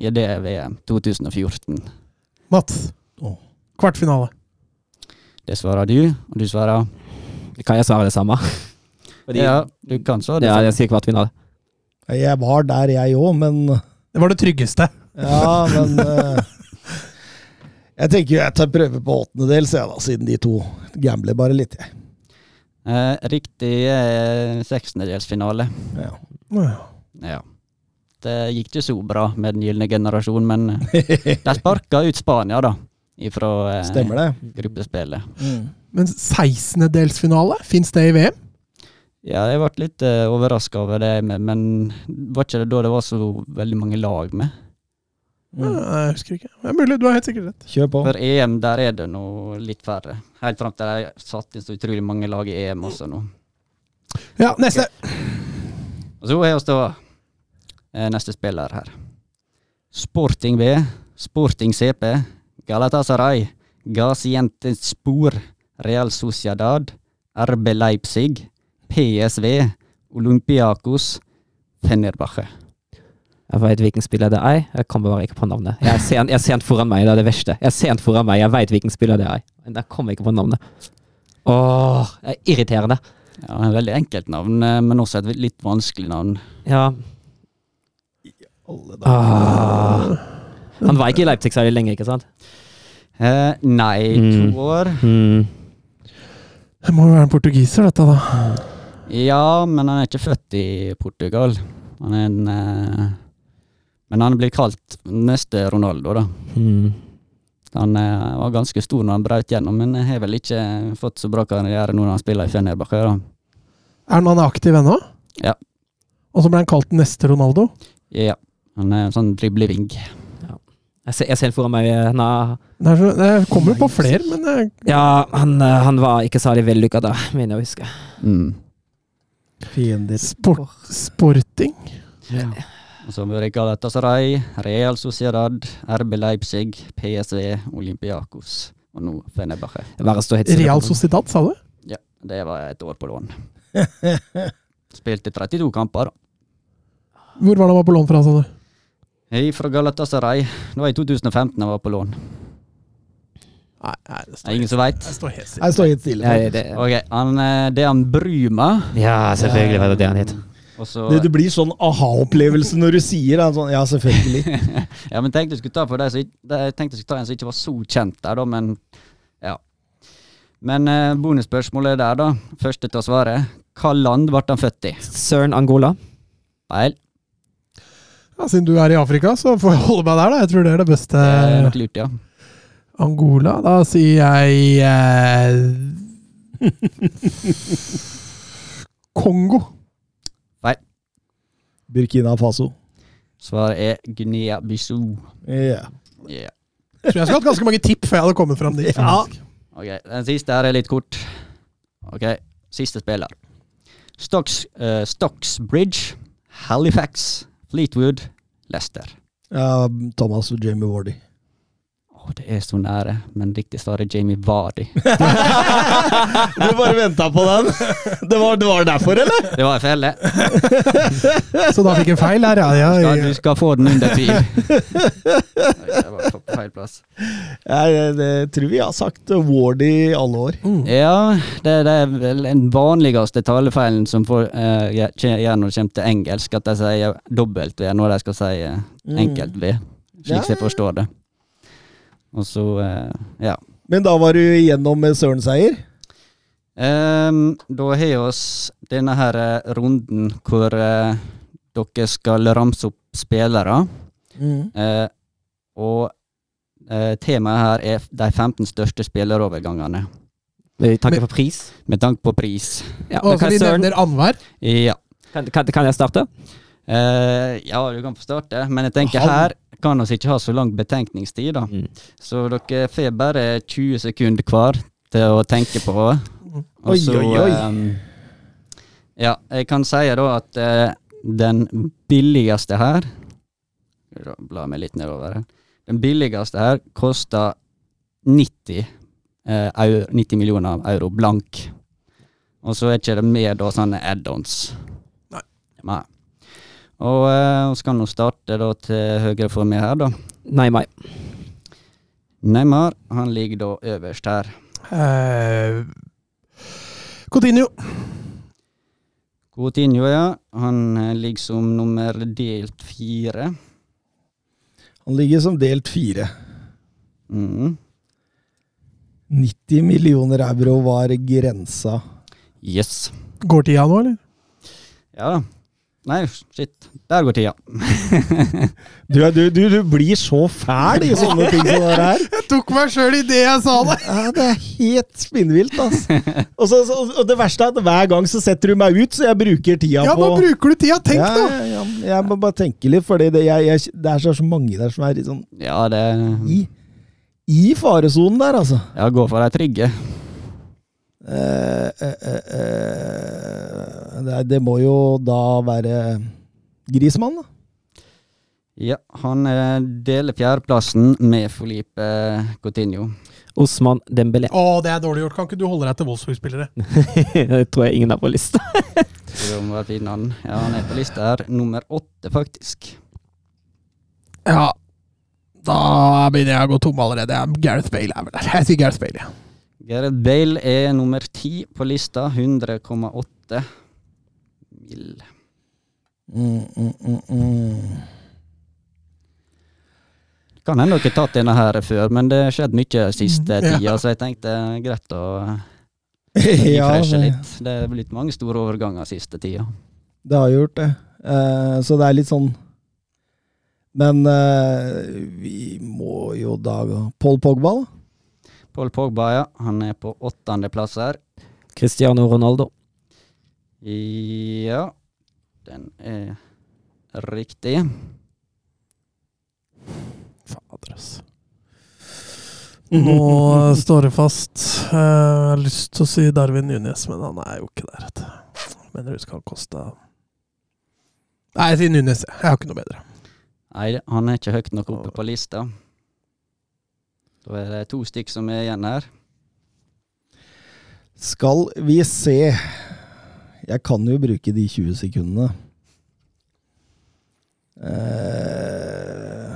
Speaker 4: i det VM 2014?
Speaker 3: Mats.
Speaker 2: Åh.
Speaker 3: Kvartfinale.
Speaker 4: Det svarer du, og du svarer
Speaker 5: Kan jeg svare det samme? Fordi-
Speaker 4: Ja, du kan svare det.
Speaker 5: Ja, jeg sier kvartfinale.
Speaker 2: Jeg var der, jeg òg, men
Speaker 3: Det var det tryggeste.
Speaker 2: Ja, men eh, Jeg tenker jeg tar prøve på åttendedels, jeg, da, siden de to gambler bare litt, jeg.
Speaker 4: Eh, riktig eh, sekstendedelsfinale.
Speaker 2: Ja.
Speaker 4: Ja. Det gikk ikke så bra med den gylne generasjon, men de sparka ut Spania, da. Ifra eh,
Speaker 2: Stemmer det?
Speaker 4: gruppespillet.
Speaker 3: Men 16-delsfinale, fins det i VM?
Speaker 4: Ja, jeg ble litt eh, overraska over det, men, men var ikke det da det var så veldig mange lag med?
Speaker 2: Mm.
Speaker 3: Nei, jeg husker ikke. Det er mulig, du har helt sikkert rett.
Speaker 2: Kjør på.
Speaker 4: For EM, der er det nå litt færre. Helt fram til de satte inn så utrolig mange lag i EM også nå.
Speaker 3: Ja, neste.
Speaker 4: Og så er oss da eh, neste spiller her. Sporting B, Sporting CP, Galatasaray, Gaziantep Spor, Real Sociedad, RB Leipzig, PSV, Olympiakos, Fenerbahçe.
Speaker 5: Jeg veit hvilken spiller det er. Jeg kommer bare ikke på navnet. Jeg er sent, jeg er sent foran meg, det er det verste. Jeg er sent foran meg, jeg veit hvilken spiller det er. Men jeg kommer ikke på navnet. Åh, det er irriterende.
Speaker 4: Ja, en veldig enkelt navn, eh, men også et litt vanskelig navn.
Speaker 5: Ja.
Speaker 2: Alle da.
Speaker 5: Ah. Han var ikke i Leipzig særlig lenge, ikke sant?
Speaker 4: Eh, nei,
Speaker 5: Mm.
Speaker 4: to år.
Speaker 5: Hmm.
Speaker 3: Det må jo være en portugiser, dette, da.
Speaker 4: Ja, men han er ikke født i Portugal. Han er en eh, Men han blir kalt neste Ronaldo, da.
Speaker 5: Hmm.
Speaker 4: Han eh, var ganske stor når han brøt gjennom, men har vel ikke fått så bra karriere nå når han spiller i Fenerbahçe. da.
Speaker 3: Er han aktiv ennå?
Speaker 4: Ja.
Speaker 3: Og så ble han kalt neste Ronaldo?
Speaker 4: Ja, han er en sånn dribleving.
Speaker 5: Jeg ser, jeg ser foran meg eh, han er,
Speaker 3: Det, er så, det kommer jo på flere, men det er-
Speaker 5: Ja, han, eh, han var ikke særlig vellykka da, mener jeg å huske.
Speaker 4: Mm.
Speaker 2: Fiender.
Speaker 3: sport, sporting
Speaker 4: Og så bør jeg kalle Galatasaray, Real Sociedad, RB Leipzig, PSV, Olympiakos og nå Fenerbahçe.
Speaker 5: Bare stå helt stille.
Speaker 3: Real Sociedad, sa du?
Speaker 4: Ja, det var et år på lån. Spilte 32 kamper, da.
Speaker 3: Hvor var det han var på lån fra, sa du?
Speaker 4: Hei fra Galatasaray. Det var i 2015 han var på lån.
Speaker 3: Nei, nei det
Speaker 4: Er det ingen som veit?
Speaker 3: det står helt stille.
Speaker 2: Jeg står helt stille.
Speaker 5: Ja,
Speaker 2: faktisk.
Speaker 5: det,
Speaker 4: Ok, han, eh, det er han Bruma.
Speaker 5: ja, selvfølgelig var det det han het.
Speaker 4: Og så
Speaker 2: Det, det blir sånn aha-opplevelse når du sier det. Sånn, ja, selvfølgelig.
Speaker 4: Ja, men tenkte jeg skulle ta for deg som ikk- det- Jeg tenkte jeg skulle ta en som ikke var så kjent der, da, men ja. Men eh, bonusspørsmålet er der, da. Første til å svare. Hva land ble han født i?
Speaker 5: Søren Angola.
Speaker 4: Feil.
Speaker 3: Ja, siden du er i Afrika, så får jeg holde meg der, da. Jeg tror det er det beste.
Speaker 4: Det er nok lurt, ja.
Speaker 3: Angola? Da sier jeg eh, Kongo.
Speaker 2: Burkina Faso.
Speaker 4: Svaret er Guinea-Bissau.
Speaker 2: Ja.
Speaker 4: Ja.
Speaker 3: Tror jeg skulle hatt ganske mange tipp før jeg hadde kommet fram dit.
Speaker 2: Ja.
Speaker 4: Ok, den siste her er litt kort. Ok, siste spiller. Stocks, eh, Stocksbridge, Halifax, Fleetwood, Leicester.
Speaker 2: Ja, Thomas og Jamie Wardy.
Speaker 4: Å, det er så nære, men riktig svar er Jamie Vardy.
Speaker 2: Du bare venta på den? Det var, det var derfor, eller?
Speaker 4: Det var en felle.
Speaker 3: Så da fikk jeg feil her, ja. ja,
Speaker 4: Skal,
Speaker 3: ja.
Speaker 4: du skal få den under tvil. Nei, Jeg var på feil plass.
Speaker 2: Ja, det, det tror vi har sagt Wardy i alle år.
Speaker 4: Ja, det, det er vel den vanligste talefeilen som får, eh, gje- gjør når det kommer til engelsk, at de sier dobbelt V når de skal si eh, enkelt V, slik som jeg forstår det. Og så, eh, ja.
Speaker 2: Men da var du igjennom med Søren Seier.
Speaker 4: Ehm, da har vi oss denne her eh, runden hvor eh, dere skal ramse opp spillere. Eh, og eh, temaet her er f- de 15 største spillerovergangene,
Speaker 5: Med tanke på pris.
Speaker 4: med tanke på pris.
Speaker 5: Ja,
Speaker 3: Og så
Speaker 5: men hva er
Speaker 3: vi
Speaker 5: Søren?
Speaker 3: nevner annenhver.
Speaker 4: Ja.
Speaker 5: Kan, kan, kan jeg starte?
Speaker 4: Eh, ja, du kan få starte, men jeg tenker her kan vi ikke ha så lang betenkningstid. da.
Speaker 5: Mm.
Speaker 4: Så dere får bare 20 sekunder hver til å tenke på.
Speaker 2: Oi, oi, oi.
Speaker 4: ehm, ja, jeg kan si da at eh, den billigste her Skal vi da Bla meg litt nedover her. Den billigste her koster 90, eh, euro, 90 millioner euro blank. Og så er ikke det med da sånne add-ons.
Speaker 7: Nei.
Speaker 4: Nei. Og eh, så kan hun starte da til høyre for meg her, da.
Speaker 5: Nei, meg.
Speaker 4: Neymar han ligger da øverst her.
Speaker 3: Eh, Coutinho.
Speaker 4: Coutinho, ja. Han eh, ligger som nummer delt fire.
Speaker 2: Han ligger som delt fire.
Speaker 4: Mm.
Speaker 2: 90 millioner euro var grensa.
Speaker 4: Yes.
Speaker 3: Går tida nå, eller?
Speaker 4: Ja da. Nei, shit. Der går tida.
Speaker 2: Du, er- du, du, du blir så fæl i sånne ting som det her.
Speaker 7: Jeg tok meg sjøl i det jeg sa det!
Speaker 2: Ja, det er helt spinnvilt, altså. Og, så, så- og det verste er at hver gang så setter du meg ut, så jeg bruker tida
Speaker 7: Ja,
Speaker 2: på
Speaker 7: nå bruker du tida! Tenk,
Speaker 2: ja,
Speaker 7: da!
Speaker 2: ja, ja, jeg må bare tenke litt, for det, jeg, jeg, det er så så mange der som er i, sånn,
Speaker 4: Ja, det
Speaker 2: i, i faresonen der, altså.
Speaker 4: Ja, gå for de trygge.
Speaker 2: Eh, eh, eh, eh, det, er- det må jo da være Grismann, da.
Speaker 4: Ja, han eh, deler fjerdeplassen med Felipe Coutinho.
Speaker 5: Osman Dembélé.
Speaker 3: Å, det er dårlig gjort. Kan ikke du holde deg til Wolfsburg-spillere?
Speaker 5: det tror jeg ingen har på lista.
Speaker 4: Så det må være fin han. Ja, han er på lista her. Nummer åtte, faktisk.
Speaker 7: Ja. Da begynner jeg å gå tom allerede. Gareth Bale er vel der. Jeg sier Gareth Bale, ja.
Speaker 4: Gareth Bale er nummer ti på lista. 100,8 mil.
Speaker 2: Mm, mm, mm, mm.
Speaker 4: Kan hende dere tatt denne her før, men det har skjedd mye siste
Speaker 7: Mm, ja.
Speaker 4: tida, så jeg tenkte eh, greit å
Speaker 2: ja,
Speaker 4: refreshe
Speaker 2: det,
Speaker 4: litt. Det er blitt mange store overganger siste tida.
Speaker 2: det har gjort det. Eh, så det er litt sånn Men eh, vi må jo da gå- Paul Pogba, da?
Speaker 4: Paul Pogba, ja. Han er på åttendeplass her.
Speaker 5: Cristiano Ronaldo.
Speaker 4: Ja, den er riktig.
Speaker 3: Fader, altså. Nå står det fast. Eh, Jeg har lyst til å si Darwin Nunes, men han er jo ikke der. Vet du. Mener du skal koste Nei, jeg sier Nunes. Jeg har ikke noe bedre.
Speaker 4: Nei, han er ikke høyt nok oppe på lista. Da er det to stykk som er igjen her.
Speaker 2: Skal vi se Jeg kan jo bruke de 20 sekundene. Eh,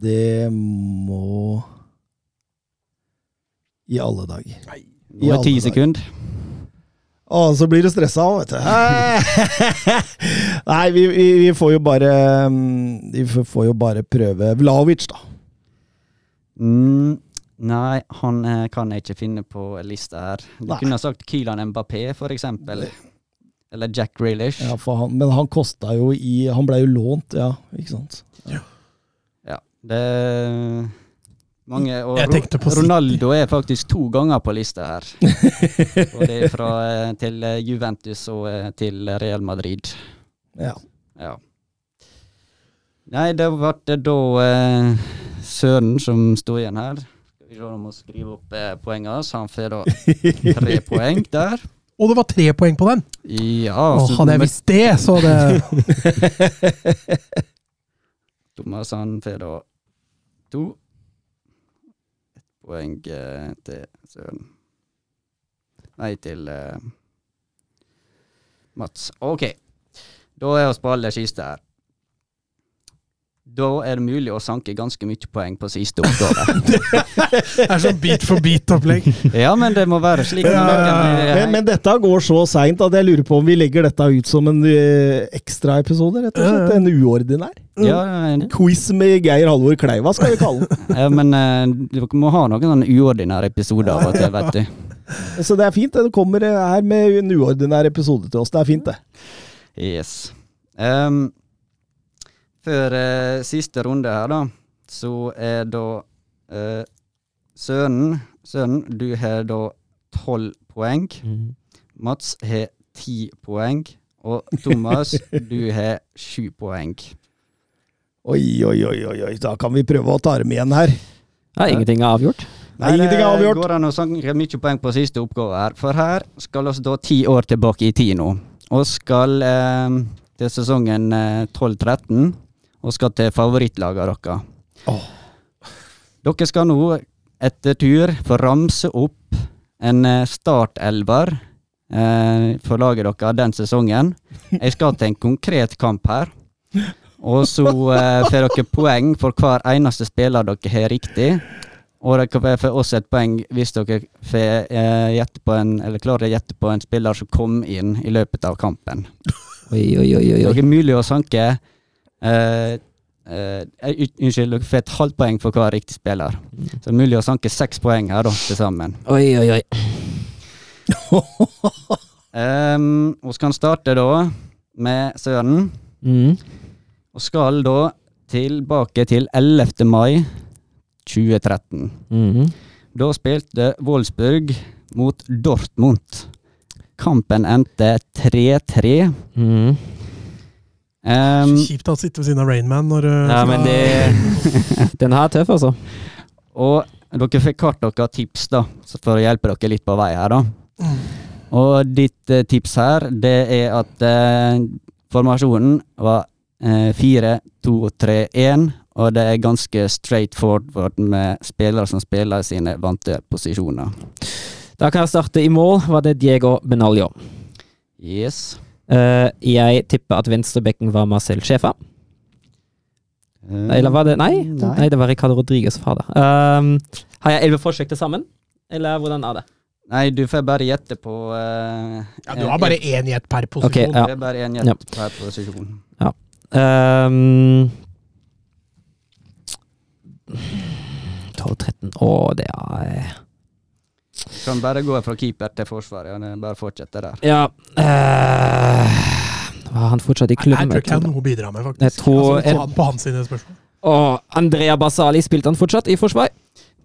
Speaker 2: det må I alle dager. I
Speaker 4: Nå er
Speaker 2: alle
Speaker 4: ti
Speaker 2: dager.
Speaker 4: sekunder.
Speaker 2: Å, så blir du stressa òg, vet du. Nei, vi, vi, vi får jo bare mm, Vi får- får jo bare prøve Vlaovic, da.
Speaker 4: Mm, nei, han eh, kan jeg ikke finne på lista her. Du
Speaker 2: Nei.
Speaker 4: kunne ha sagt Kylan Mbappé, for eksempel. Eller Jack Grealish.
Speaker 2: Ja, for han, men han kosta jo i Han blei jo lånt, ja. Ikke sant?
Speaker 4: Ja, det er mange, og
Speaker 3: Jeg tenkte på City.
Speaker 4: Ronaldo er faktisk to ganger på lista her. og det er fra eh, til eh, Juventus og eh, til Real Madrid.
Speaker 2: Ja.
Speaker 4: Ja. Nei, det ble det da eh, Søren som sto igjen her. Skal vi se om vi skriver opp eh, poengene hans. Han får da tre poeng der.
Speaker 3: Og det var tre poeng på den!
Speaker 4: Ja,
Speaker 3: Å,
Speaker 4: så
Speaker 3: hadde jeg
Speaker 4: nummer-
Speaker 3: visst det, så det
Speaker 4: Thomas han får da to. Ett poeng eh, til Søren. Nei, til eh, Mats. Ok. Da er oss på aller siste her. Da er det mulig å sanke ganske mye poeng på siste oppgave.
Speaker 3: Det er sånn bit for bit-opplegg.
Speaker 4: ja, men det må være slik. når dere-
Speaker 2: Men, men dette går så seint at jeg lurer på om vi legger dette ut som en eh, ekstraepisode, rett og slett. En uordinær.
Speaker 4: ja, en-
Speaker 2: Quiz med Geir Halvor Kleiva, skal vi kalle den.
Speaker 4: ja, men eh, dere må ha noen sånne uordinære episoder av og til, vet du.
Speaker 2: Så det er fint. Det Du kommer eh, her med en uordinær episode til oss. Det er fint, det.
Speaker 4: Yes. Ehm, før eh, siste runde her, da, så er da eh,
Speaker 5: Mm.
Speaker 4: Søren, Søren, du har da tolv poeng. Mats har ti poeng. Og Thomas, du har sju poeng.
Speaker 2: Oi, oi, oi, oi, oi. Da kan vi prøve å ta dem igjen her.
Speaker 5: Ja, ingenting er avgjort.
Speaker 2: Nei, ingenting er
Speaker 4: Det
Speaker 2: avgjort.
Speaker 4: går an å sanke mye poeng på siste oppgave her. For her skal vi da ti år tilbake i tid nå. Og skal eh, til sesongen eh, 12-13, og skal til favorittlaget deres. Dere skal nå etter tur få ramse opp en eh, startelver eh, for laget deres den sesongen. Jeg skal til en konkret kamp her. Og så eh, får dere poeng for hver eneste spiller dere har riktig. Og dere får også et poeng hvis dere får, eh, gjette på en, eller klarer å gjette på en spiller som kom inn i løpet av kampen.
Speaker 5: Oi, oi, oi, oi,
Speaker 4: Det
Speaker 5: oi.
Speaker 4: er mulig å sanke eh, eh, ut- Unnskyld, dere får et halvt poeng for hver riktig spiller. Så det er mulig å sanke seks poeng her da, til sammen.
Speaker 5: oi, oi, oi.
Speaker 4: Um, vi kan starte da med Søren.
Speaker 5: Mm.
Speaker 4: Og skal da tilbake til 11. mai 2013.
Speaker 5: Mhm.
Speaker 4: Da spilte Wolfsburg mot Dortmund. Kampen endte 3-3.
Speaker 5: Mhm.
Speaker 4: Um,
Speaker 3: Kjipt å sitte ved siden av Rainman når eh,
Speaker 5: Ja, men det Den her er tøff, altså.
Speaker 4: og dere fikk hvert dere tips da, så for å hjelpe dere litt på vei her. da. Og ditt eh, tips her, det er at eh, formasjonen var eh, 4-2-3-1, og det er ganske straight forward med spillere som spiller sine vante posisjoner.
Speaker 5: Da kan jeg starte i mål. Var det Diego Benaglio?
Speaker 4: Yes.
Speaker 5: Eh, jeg tipper at venstrebekken var Marcel Schäfer. Eller var det Nei,
Speaker 4: Nei.
Speaker 5: nei. det var Ricardo Rodriguez fader. Um, har jeg elleve forsøk til sammen? Eller hvordan er det?
Speaker 4: Nei, du får bare gjette på eh,
Speaker 7: Ja, du har bare
Speaker 4: eh,
Speaker 7: én gjett per posisjon.
Speaker 5: Ok, ja.
Speaker 4: Det er bare én
Speaker 5: Ja.
Speaker 4: gjett per posisjon.
Speaker 5: Um, 12-13 Å, det er eh,
Speaker 4: Du kan bare gå fra keeper til forsvar. Ja, det er bare fortsette der.
Speaker 5: Ja eh, Var han fortsatt i
Speaker 3: Nei, jeg
Speaker 5: klubben?
Speaker 3: tror ikke jeg har noe å bidra med, faktisk.
Speaker 5: Jeg tror-
Speaker 3: altså, på, han- på hans sine spørsmål.
Speaker 5: Å, Andrea Basali, spilte han fortsatt i forsvar?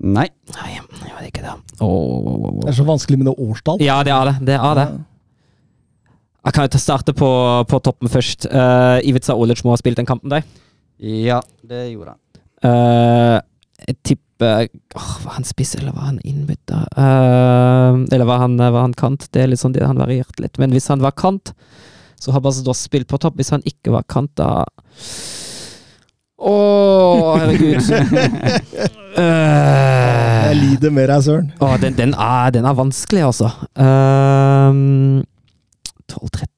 Speaker 4: Nei.
Speaker 5: Nei, jeg vet ikke det. Å, å, å, å.
Speaker 2: Det er så vanskelig med det årstall.
Speaker 5: Ja, det er det. Det er det. Jeg kan jo ta- starte på, på toppen først. Uh, Ivica Olic må ha spilt den kampen der.
Speaker 4: Ja, det gjorde han.
Speaker 5: Eh, jeg tipper åh, Var han spiss, eller var han innbytter? Eh, eller var han, var han kant? Det er litt sånn det han varierte litt. Men hvis han var kant, så har Bastos spilt på topp. Hvis han ikke var kant, da Å, herregud. Eh,
Speaker 2: Jeg lider med deg, Søren.
Speaker 5: å, den, den, er, den er vanskelig, altså. Ehm, 12-13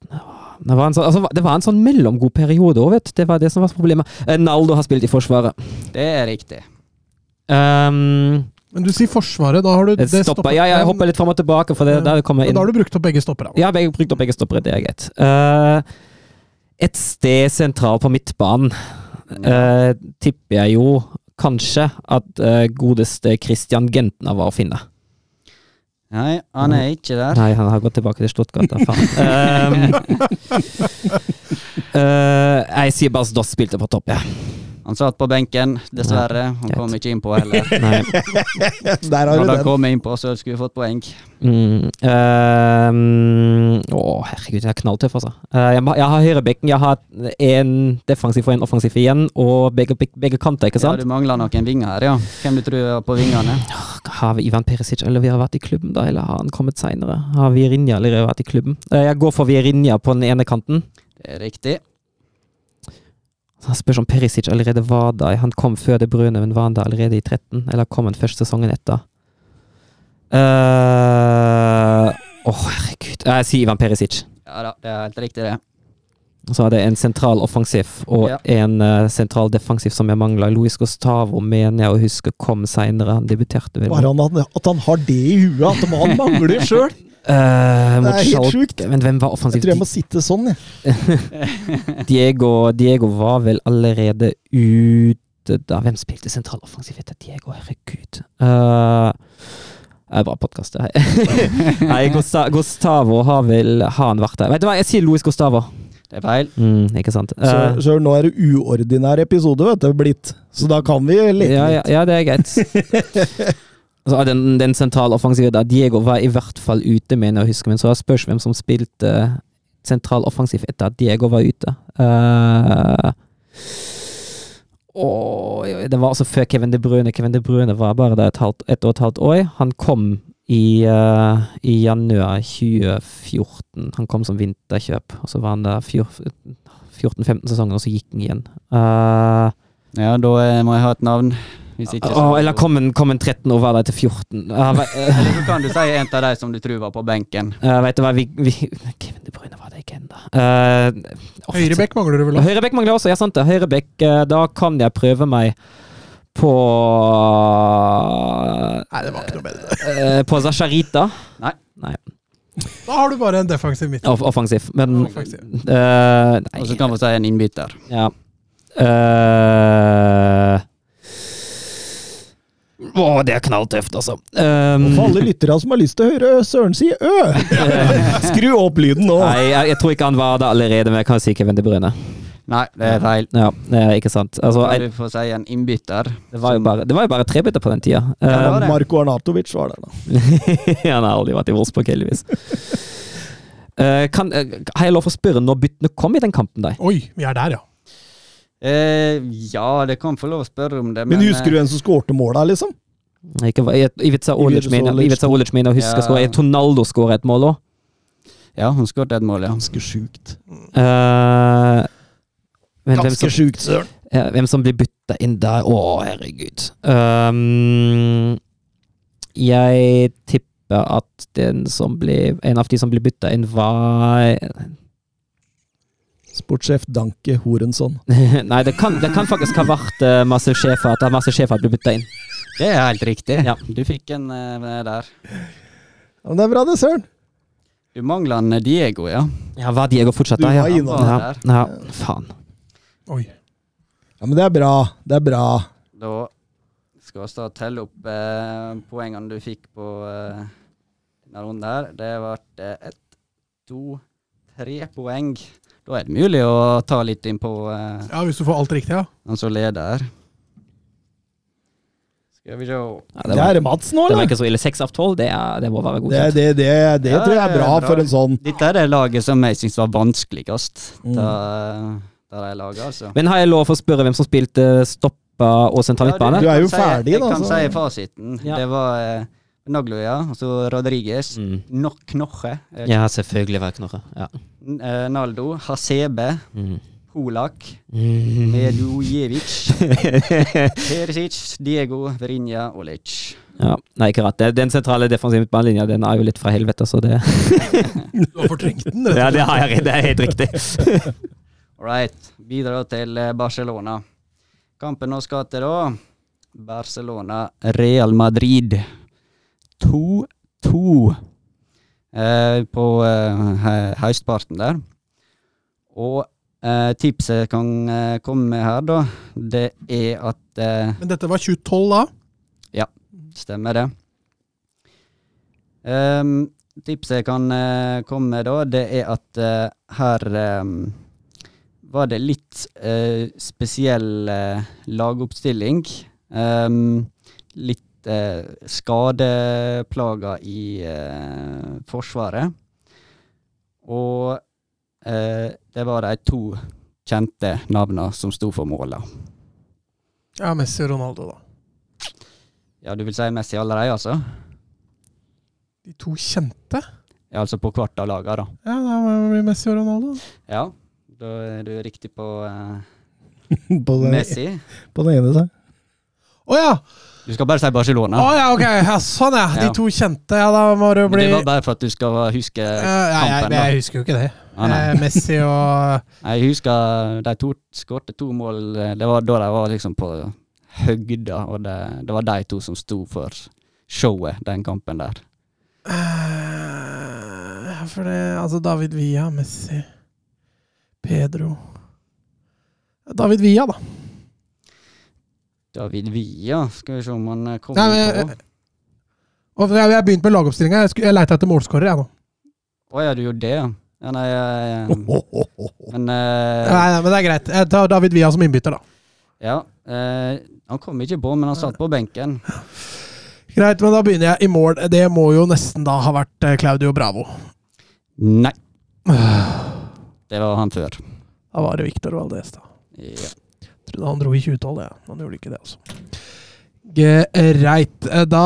Speaker 5: det var, en sånn, altså, det var en sånn mellomgod periode òg, vet du. Det var det som var problemet. Eh, Naldo har spilt i Forsvaret.
Speaker 4: Det er riktig.
Speaker 5: Um,
Speaker 3: Men du sier Forsvaret, da har du det
Speaker 5: stopper. Ja, ja, jeg hopper litt fram og tilbake, for det, der kommer
Speaker 3: Men Da
Speaker 5: jeg inn.
Speaker 3: har du brukt opp begge stoppere.
Speaker 5: Ja, begge brukt opp begge stoppere. Det er greit. Eh, et sted sentralt på midtbanen eh, tipper jeg jo kanskje at eh, godeste Christian Gentner var å finne.
Speaker 4: Nei, han er ikke der.
Speaker 5: Nei, han har gått tilbake til Stuttgart, da faen. Um, eh, jeg sier bare Doss spilte på topp, ja.
Speaker 4: Han satt på benken, dessverre. Han kom ikke innpå heller.
Speaker 5: Nei.
Speaker 2: Der har du
Speaker 4: Hadde han
Speaker 2: den.
Speaker 4: kommet innpå, så skulle vi fått poeng.
Speaker 5: Mm, ehm, å, herregud, jeg er knalltøff, altså. Eh, jeg, må- jeg har høyrebekken, jeg har en defensiv og en offensiv igjen, og begge, begge kanter, ikke
Speaker 4: Ja,
Speaker 5: sant?
Speaker 4: du mangler noen vinger her, ja. Hvem du tror er på vingene?
Speaker 5: Har vi Ivan Perisic eller vi har vært i klubben, da, eller har han kommet seinere? Har Virinja allerede vært i klubben? Eh, jeg går for Virinja på den ene kanten.
Speaker 4: Det er riktig.
Speaker 5: Han spørs om Perisic allerede var der. Han kom før De Bruyne, men var han der allerede i 13? Eller kom han først sesongen etter? Eh, Åh, herregud. Eh, Jeg sier Ivan Perisic.
Speaker 4: Ja da, det er helt riktig, det.
Speaker 5: Så hadde jeg en sentral offensiv og
Speaker 4: Ja.
Speaker 5: en eh, sentral defensiv som jeg mangla. Luis Gustavo mener jeg å huske kom seinere. Han debuterte vel
Speaker 2: Bare han, at han har det i huet, at han mangler sjøl!
Speaker 5: Eh,
Speaker 2: Det
Speaker 5: mot
Speaker 2: er helt
Speaker 5: Schalke.
Speaker 2: sjukt.
Speaker 5: Men hvem var
Speaker 2: Jeg
Speaker 5: offensiv?
Speaker 2: tror jeg må sitte sånn, jeg.
Speaker 5: Diego, Diego var vel allerede ute da. Hvem spilte sentral offensiv etter Diego? Herregud. Eh, det er bra podkast, det her. Nei, Gusta Gustavo har vel Har han vært der? Vet du hva, jeg sier Luis Gustavo.
Speaker 4: Det er feil.
Speaker 5: Mm, ikke sant? Eh,
Speaker 2: Så- Søren, nå er det uordinær episode, vet du, blitt. Så da kan vi leke
Speaker 5: ja, ja,
Speaker 2: litt.
Speaker 5: ja, det er greit. Så den, den sentrale offensiven der, Diego var i hvert fall ute, mener jeg å huske, men så spørs hvem som spilte eh, sentral offensiv etter at Diego var ute. Eh, og det var altså før Kevin De Bruyne. Kevin De Bruyne var bare der et, halvt, et og et halvt år. Han kom i, eh, i januar 2014. Han kom som vinterkjøp, og så var han der fjor- 14-15 sesonger, og så gikk han igjen. Eh,
Speaker 4: Ja, da eh, må jeg ha et navn. Hvis ikke så
Speaker 5: Åh, eller kom en, kom en 13 og var der til 14. Ja, ve- eh,
Speaker 4: Eller så kan du si en av de som du tror var på benken.
Speaker 5: eh, vet du hva, vi, vi Kevin De Bruyne var det ikke ennå. Uh,
Speaker 7: Høyrebekk mangler du vel? da?
Speaker 5: Høyrebekk mangler også, ja sant det. Høyrebekk, eh, da kan jeg prøve meg på
Speaker 7: Nei, det var ikke noe bedre.
Speaker 5: eh, På Zasharita.
Speaker 7: Da har du bare en defensiv midt.
Speaker 5: Off offensiv, men
Speaker 7: Offensiv.
Speaker 5: eh, Nei.
Speaker 4: Og så kan vi si en innbytter.
Speaker 5: Ja. Eh, Å, det er knalltøft, altså. Um,
Speaker 2: For alle lyttere som har lyst til å høre Søren si ø! Skru opp lyden nå!
Speaker 5: Nei, jeg, jeg tror ikke han var der allerede, men jeg kan jo si Kevin De Bruyne.
Speaker 4: Nei, det er feil.
Speaker 5: Ja, eh, ikke sant. Altså,
Speaker 4: Kan
Speaker 5: jeg,
Speaker 4: du få si en innbytter?
Speaker 5: det, var jo bare, det var jo bare tre bytter på den tida.
Speaker 4: det var det.
Speaker 2: Marko Arnatovic var der, da.
Speaker 5: Eh, han har aldri vært i Wolfsburg, heldigvis. Eh, kan, eh, har jeg lov å spørre når byttene kom i den kampen? Der?
Speaker 7: Oi, vi er der, ja.
Speaker 4: Eh, ja, det kan få lov å spørre om det,
Speaker 2: Men husker du
Speaker 4: eh,
Speaker 2: hvem som skårte måla, liksom?
Speaker 5: Ikke, jeg, Ivica Olic mener Ivica Olic mener å
Speaker 4: Ja.
Speaker 5: huske å skåre. Tonaldo skåra et mål òg.
Speaker 4: Ja, hun skåret et mål, ja.
Speaker 2: Ganske sjukt.
Speaker 5: Eh, men hvem som,
Speaker 2: Ganske sjukt, Søren.
Speaker 5: ja, hvem som blir bytta inn der? Å, herregud. Ehm, jeg tipper at den som ble, en av de som ble bytta inn, var
Speaker 2: Sportssjef Danke Horensson.
Speaker 5: Nei, det kan, det kan faktisk ha vært uh, masse sjefer at masse sjefer ble bytta inn.
Speaker 4: Det er helt riktig.
Speaker 5: Ja.
Speaker 4: Du fikk en eh, der.
Speaker 2: Ja, men det er bra, det, Søren.
Speaker 4: Du mangler en eh, Diego, ja.
Speaker 5: Ja, var Diego fortsatt
Speaker 2: Du
Speaker 5: der?
Speaker 2: var innom
Speaker 5: ja.
Speaker 4: der.
Speaker 5: ja, faen.
Speaker 7: Oi.
Speaker 2: Ja, Men det er bra. Det er bra.
Speaker 4: Da skal vi da telle opp eh, poengene du fikk på eh, denne runden her. Det ble eh, ett, to, tre poeng. Da er det mulig å ta litt inn på eh,
Speaker 7: Ja, Hvis du får alt riktig, ja.
Speaker 4: han som leder. Skal vi se
Speaker 5: Ja,
Speaker 2: Det
Speaker 5: det, var,
Speaker 2: er Mats nå,
Speaker 5: det var
Speaker 2: eller?
Speaker 5: ikke så ille. Seks av tolv, det, er- det må være
Speaker 2: Det,
Speaker 5: godkjent.
Speaker 2: det, det, det
Speaker 4: Ja,
Speaker 2: tror jeg er
Speaker 4: det
Speaker 2: bra
Speaker 4: er bra.
Speaker 2: for en sånn
Speaker 4: Dette er det laget som jeg syns var vanskeligst.
Speaker 2: Mm.
Speaker 4: Da, da de laget, altså.
Speaker 5: Men har jeg lov å spørre hvem som spilte stoppa og sentral midtbane?
Speaker 2: du-
Speaker 5: Ja,
Speaker 2: er jo
Speaker 4: kan si-
Speaker 2: ferdig, da, altså.
Speaker 4: Jeg kan
Speaker 2: så-
Speaker 4: si fasiten.
Speaker 5: Ja.
Speaker 4: Det var eh, Nagloya, altså Rodriguez.
Speaker 5: mm.
Speaker 4: Nok Knoche. Eh,
Speaker 5: ja selvfølgelig var Knorre. Ja.
Speaker 4: N- eh, Naldo. Hasebe.
Speaker 5: Mm.
Speaker 4: Polak.
Speaker 5: Mm.
Speaker 4: Medujevic. Perisic. Diego. Verinja. Olic.
Speaker 5: ja. Nei, ikke rart. Det- Den sentrale defensive midtbanelinja den er jo litt fra helvete, så det
Speaker 7: Du har fortrengt den.
Speaker 5: Ja,
Speaker 7: rett og
Speaker 5: det har jeg. Det er helt riktig.
Speaker 4: All right. Videre til eh, Barcelona. Kampen vi skal til, da. Barcelona, Real Madrid. 2-2 eh, på eh, he- høstparten der. Og eh, tipset jeg kan eh, komme med her, da, det er at eh,
Speaker 7: slett. Men dette var 2012 da.
Speaker 4: Stemmer det. Ehm, tipset jeg kan eh, komme med da, det er at eh, her ehm, var det litt eh, spesiell eh, lagoppstilling. Ehm, litt eh, skadeplager i eh, Forsvaret. Og eh, det var de to kjente navnene som sto for måla.
Speaker 7: Ja, Messi og Ronaldo, da.
Speaker 4: Ja, du vil si Messi allerede, altså?
Speaker 7: De to kjente?
Speaker 4: Ja, altså på hvert av lagene, da.
Speaker 7: Ja, da var det Messi og Ronaldo.
Speaker 4: Ja, da er du riktig på eh,
Speaker 2: på den,
Speaker 4: Messi.
Speaker 2: på den ene siden.
Speaker 7: Å ja!
Speaker 4: Du skal bare si Barcelona.
Speaker 7: Å ja, ok. Ja, sånn, ja. De
Speaker 4: Ja.
Speaker 7: to kjente. Ja, da må det
Speaker 4: Men
Speaker 7: bli
Speaker 4: Det var bare for at du skal huske
Speaker 7: Eh, ja, jeg,
Speaker 4: kampen, da.
Speaker 7: jeg husker jo ikke det.
Speaker 4: Ah, nei.
Speaker 7: Eh, Messi og
Speaker 4: Jeg husker de to skårte to mål eh, Det var da de var liksom på høgda, og det, det var de to som sto for showet den kampen der.
Speaker 7: Eh, For det Altså, David Villa, Messi Pedro David Villa, da.
Speaker 4: David Villa, skal vi se om han eh, kommer
Speaker 7: Nei, men,
Speaker 4: på.
Speaker 7: Og jeg jeg har begynt med lagoppstillinga. Jeg, skulle- jeg leita etter målskårer, jeg nå.
Speaker 4: Å ja, du gjorde det, ja. ja nei, eh, men eh,
Speaker 7: Nei, nei, men det er greit. Jeg tar David Villa som innbytter, da.
Speaker 4: Ja. eh, han kom ikke på, men han satt på benken.
Speaker 3: Greit, men da begynner jeg i mål. Det må jo nesten da ha vært eh, Claudio Bravo.
Speaker 4: Nei.
Speaker 7: Ah.
Speaker 4: Det var han før.
Speaker 3: Da var det Victor Valdez, da.
Speaker 4: Ja.
Speaker 3: Trodde han dro i 2012, jeg. Han gjorde ikke det, altså. Greit. Eh, Da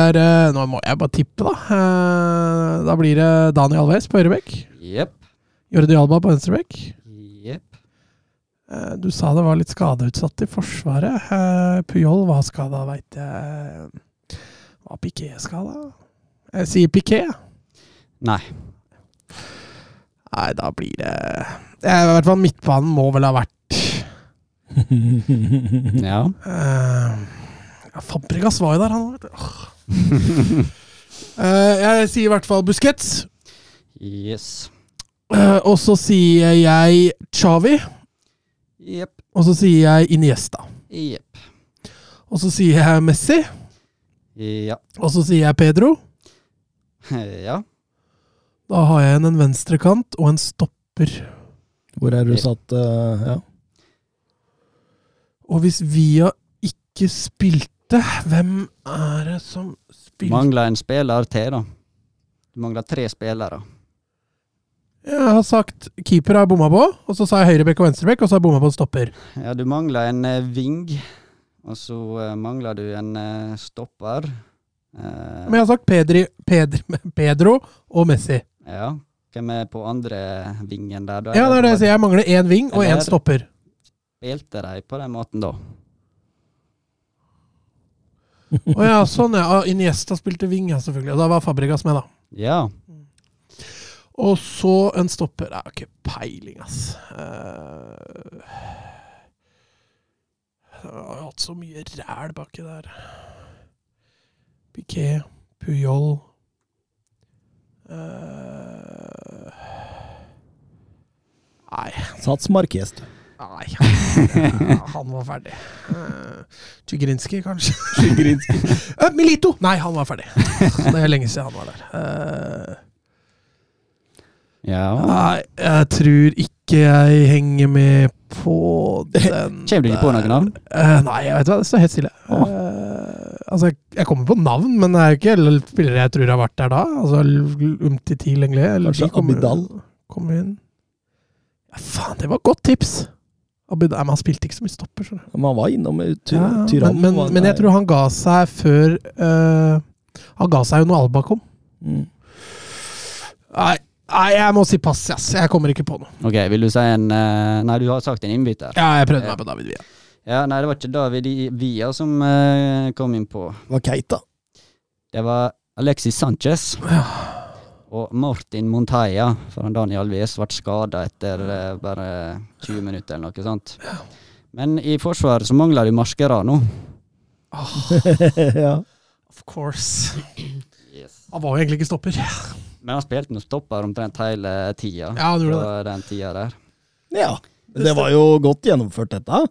Speaker 3: er eh, Nå må jeg bare tippe, da. Eh, Da blir det Daniel Alves på høyrebekk.
Speaker 4: Jepp.
Speaker 3: Jordi Alba på venstrebekk.
Speaker 4: Jepp.
Speaker 3: Eh, Du sa det var litt skadeutsatt i Forsvaret. Eh, Puyol var skada, veit jeg. Var Piqué skada? Jeg sier Piqué. jeg.
Speaker 4: Nei.
Speaker 3: Nei, da blir det Det er I hvert fall midtbanen må vel ha vært
Speaker 4: Ja.
Speaker 3: eh, ja, Fabregas var jo der, han. Vet du. Åh. Eh, jeg sier i hvert fall Busquets.
Speaker 4: Yes.
Speaker 3: Eh, og så sier jeg Chavi.
Speaker 4: Jepp.
Speaker 3: Og så sier jeg Iniesta.
Speaker 4: Jepp.
Speaker 3: Og så sier jeg Messi.
Speaker 4: Ja.
Speaker 3: Og så sier jeg Pedro.
Speaker 4: Ja.
Speaker 3: Da har jeg igjen en venstrekant og en stopper.
Speaker 2: Hvor er du satt? eh, ja.
Speaker 3: Og hvis Via ikke spilte, hvem er det som spilte
Speaker 4: Mangla en spiller til, da. Du mangla tre spillere.
Speaker 3: Jeg har sagt keeper har jeg bomma på, og så sa jeg høyrebekk og venstrebekk, og så har jeg bomma på en stopper.
Speaker 4: Ja, du mangla en eh, ving. Og så eh, mangla du en eh, stopper. Eh,
Speaker 3: Men jeg har sagt Pedri, Pedri, Pedro og Messi.
Speaker 4: ja. Hvem er på andre vingen der, da?
Speaker 3: Ja, det er det jeg sier. Jeg mangler én ving og én
Speaker 4: Eller-
Speaker 3: stopper.
Speaker 4: Spilte de på den måten da?
Speaker 3: Å ja, sånn ja. Ah, Iniesta spilte ving, ja, selvfølgelig. Og da var Fabregas med, da.
Speaker 4: Ja.
Speaker 3: Og så en stopper. Jeg har ikke peiling, ass. Eh, Jeg har jo hatt så mye ræl baki der. Piquet, Puyol Eh, Nei.
Speaker 2: Sats Marquez. du.
Speaker 3: Nei. Ja, han var ferdig. Uh, Tjugrinskij, kanskje? Eh, Milito! Nei, han var ferdig. Det er lenge siden han var der. Eh,
Speaker 4: ja.
Speaker 3: Nei, jeg tror ikke jeg henger med på den
Speaker 4: Kjem du ikke på noe navn?
Speaker 3: Eh, nei, jeg vet hva, det står helt stille.
Speaker 4: Åh.
Speaker 3: Eh, altså, jeg, jeg kommer på navn, men det er jo ikke alle spillere jeg tror har vært der da. Altså, Umtiti Lengle. eller
Speaker 2: Kanskje
Speaker 3: de kommer-
Speaker 2: Abidal?
Speaker 3: Kommer inn. Ja, faen, det var et godt tips! Abidal, nei, men han spilte ikke så mye stopper, skjønner du.
Speaker 2: Men han var innom eh, ty
Speaker 3: Ja,
Speaker 2: Tyrann.
Speaker 3: men,
Speaker 2: var han
Speaker 3: men, men jeg
Speaker 2: der.
Speaker 3: tror han ga seg før eh, Han ga seg jo når Alba kom.
Speaker 2: Mm.
Speaker 3: Nei, nei, jeg må si pass, ass. Jeg kommer ikke på noe.
Speaker 4: Ok, vil du si en eh, Nei, du har sagt en innbytter.
Speaker 3: Ja, jeg prøvde meg på David Villa.
Speaker 4: Ja, nei, det var ikke David I- Villa som eh, kom inn på.
Speaker 2: Var Keita.
Speaker 4: Det var Alexis Sanchez. Og Martin Monteia, for han Daniel Alves ble skada etter eh, bare 20 minutter eller noe sånt. Men i forsvaret så mangler du Mascherano.
Speaker 2: ja.
Speaker 3: Of course. Han var jo egentlig ikke stopper.
Speaker 4: Men han spilte nå stopper omtrent hele tida.
Speaker 3: Ja, han gjorde
Speaker 4: på den tida der.
Speaker 2: ja. Det var jo godt gjennomført, dette.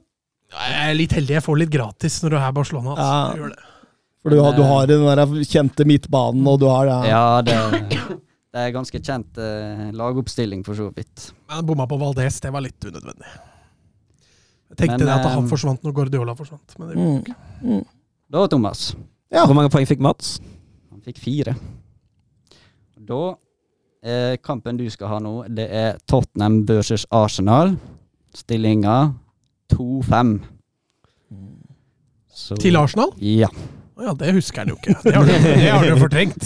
Speaker 3: Jeg er litt heldig. Jeg får litt gratis når du er her i Barcelona. Altså.
Speaker 2: Ja.
Speaker 3: Jeg gjør det.
Speaker 2: For du har, du har den der kjente midtbanen, og du har det
Speaker 4: Ja, det, det er ganske kjent eh, lagoppstilling, for så vidt.
Speaker 3: Men jeg bomma på Valdez. Det var litt unødvendig. Jeg tenkte
Speaker 4: Men,
Speaker 3: det at
Speaker 4: eh,
Speaker 3: han forsvant når Guardiola forsvant. Men det gjorde han ikke.
Speaker 4: Da, Thomas.
Speaker 5: Hvor mange poeng fikk Mats?
Speaker 4: Han fikk fire. Da eh, Kampen du skal ha nå, det er Tottenham versus Arsenal. Stillinga 2-5. Så-
Speaker 3: Til Arsenal?
Speaker 4: Ja.
Speaker 3: Å Ja, det husker han jo ikke. Det har du, det har du jo fortrengt.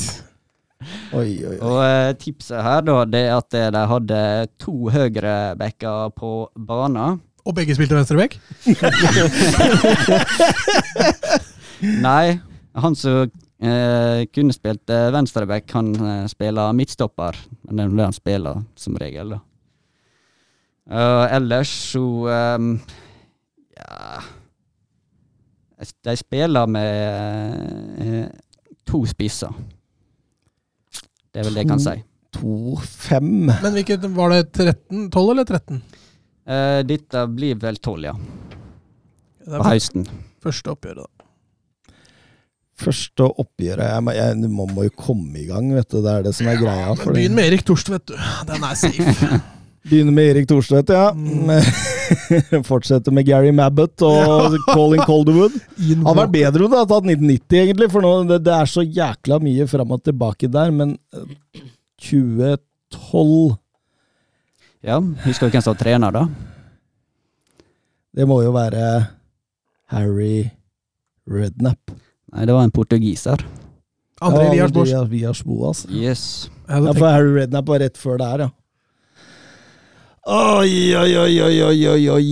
Speaker 2: Oi, oi, oi.
Speaker 4: Og eh, tipset her, da, det er at eh, de hadde to høyrebacker på banen.
Speaker 3: Og begge spilte venstreback?
Speaker 4: Nei, han som eh, kunne spilt eh, venstreback, han eh, spiller midtstopper. Men det er det han spiller som regel, da. Eh, ellers så ehm, Ja Es- De spiller med eh, to spisser. Det er vel det jeg kan si.
Speaker 2: To, fem.
Speaker 3: Men hvilket, var det 13? 12 eller 13?
Speaker 4: Eh, dette blir vel tolv, ja.
Speaker 3: Det
Speaker 4: På
Speaker 3: er
Speaker 4: høsten.
Speaker 3: første oppgjøret, da.
Speaker 2: Første oppgjøret jeg, må- jeg, Man må jo komme i gang, vet du. Det er det som er greia.
Speaker 3: Men
Speaker 2: fordi-
Speaker 3: Begynn med Erik Torstvedt, du. Den er safe.
Speaker 2: Begynner med Erik Thorstvedt, ja. Fortsetter med Gary Mabbott og Colin Calderwood. Han hadde vært bedre om det hadde tatt 1990, egentlig, for nå, det, det er så jækla mye fram og tilbake der, men eh, 2012
Speaker 4: Ja, husker du hvem som var trener da?
Speaker 2: Det må jo være Harry Redknapp.
Speaker 4: Nei, det var en portugiser.
Speaker 3: André Elias Bors.
Speaker 2: Ja, Elias Boas.
Speaker 4: Yes.
Speaker 3: Jeg hadde
Speaker 2: Ja,
Speaker 3: tenkt-
Speaker 2: for Harry Redknapp var rett før der, ja. Oi, oi, oi, oi, oi, oi, oi.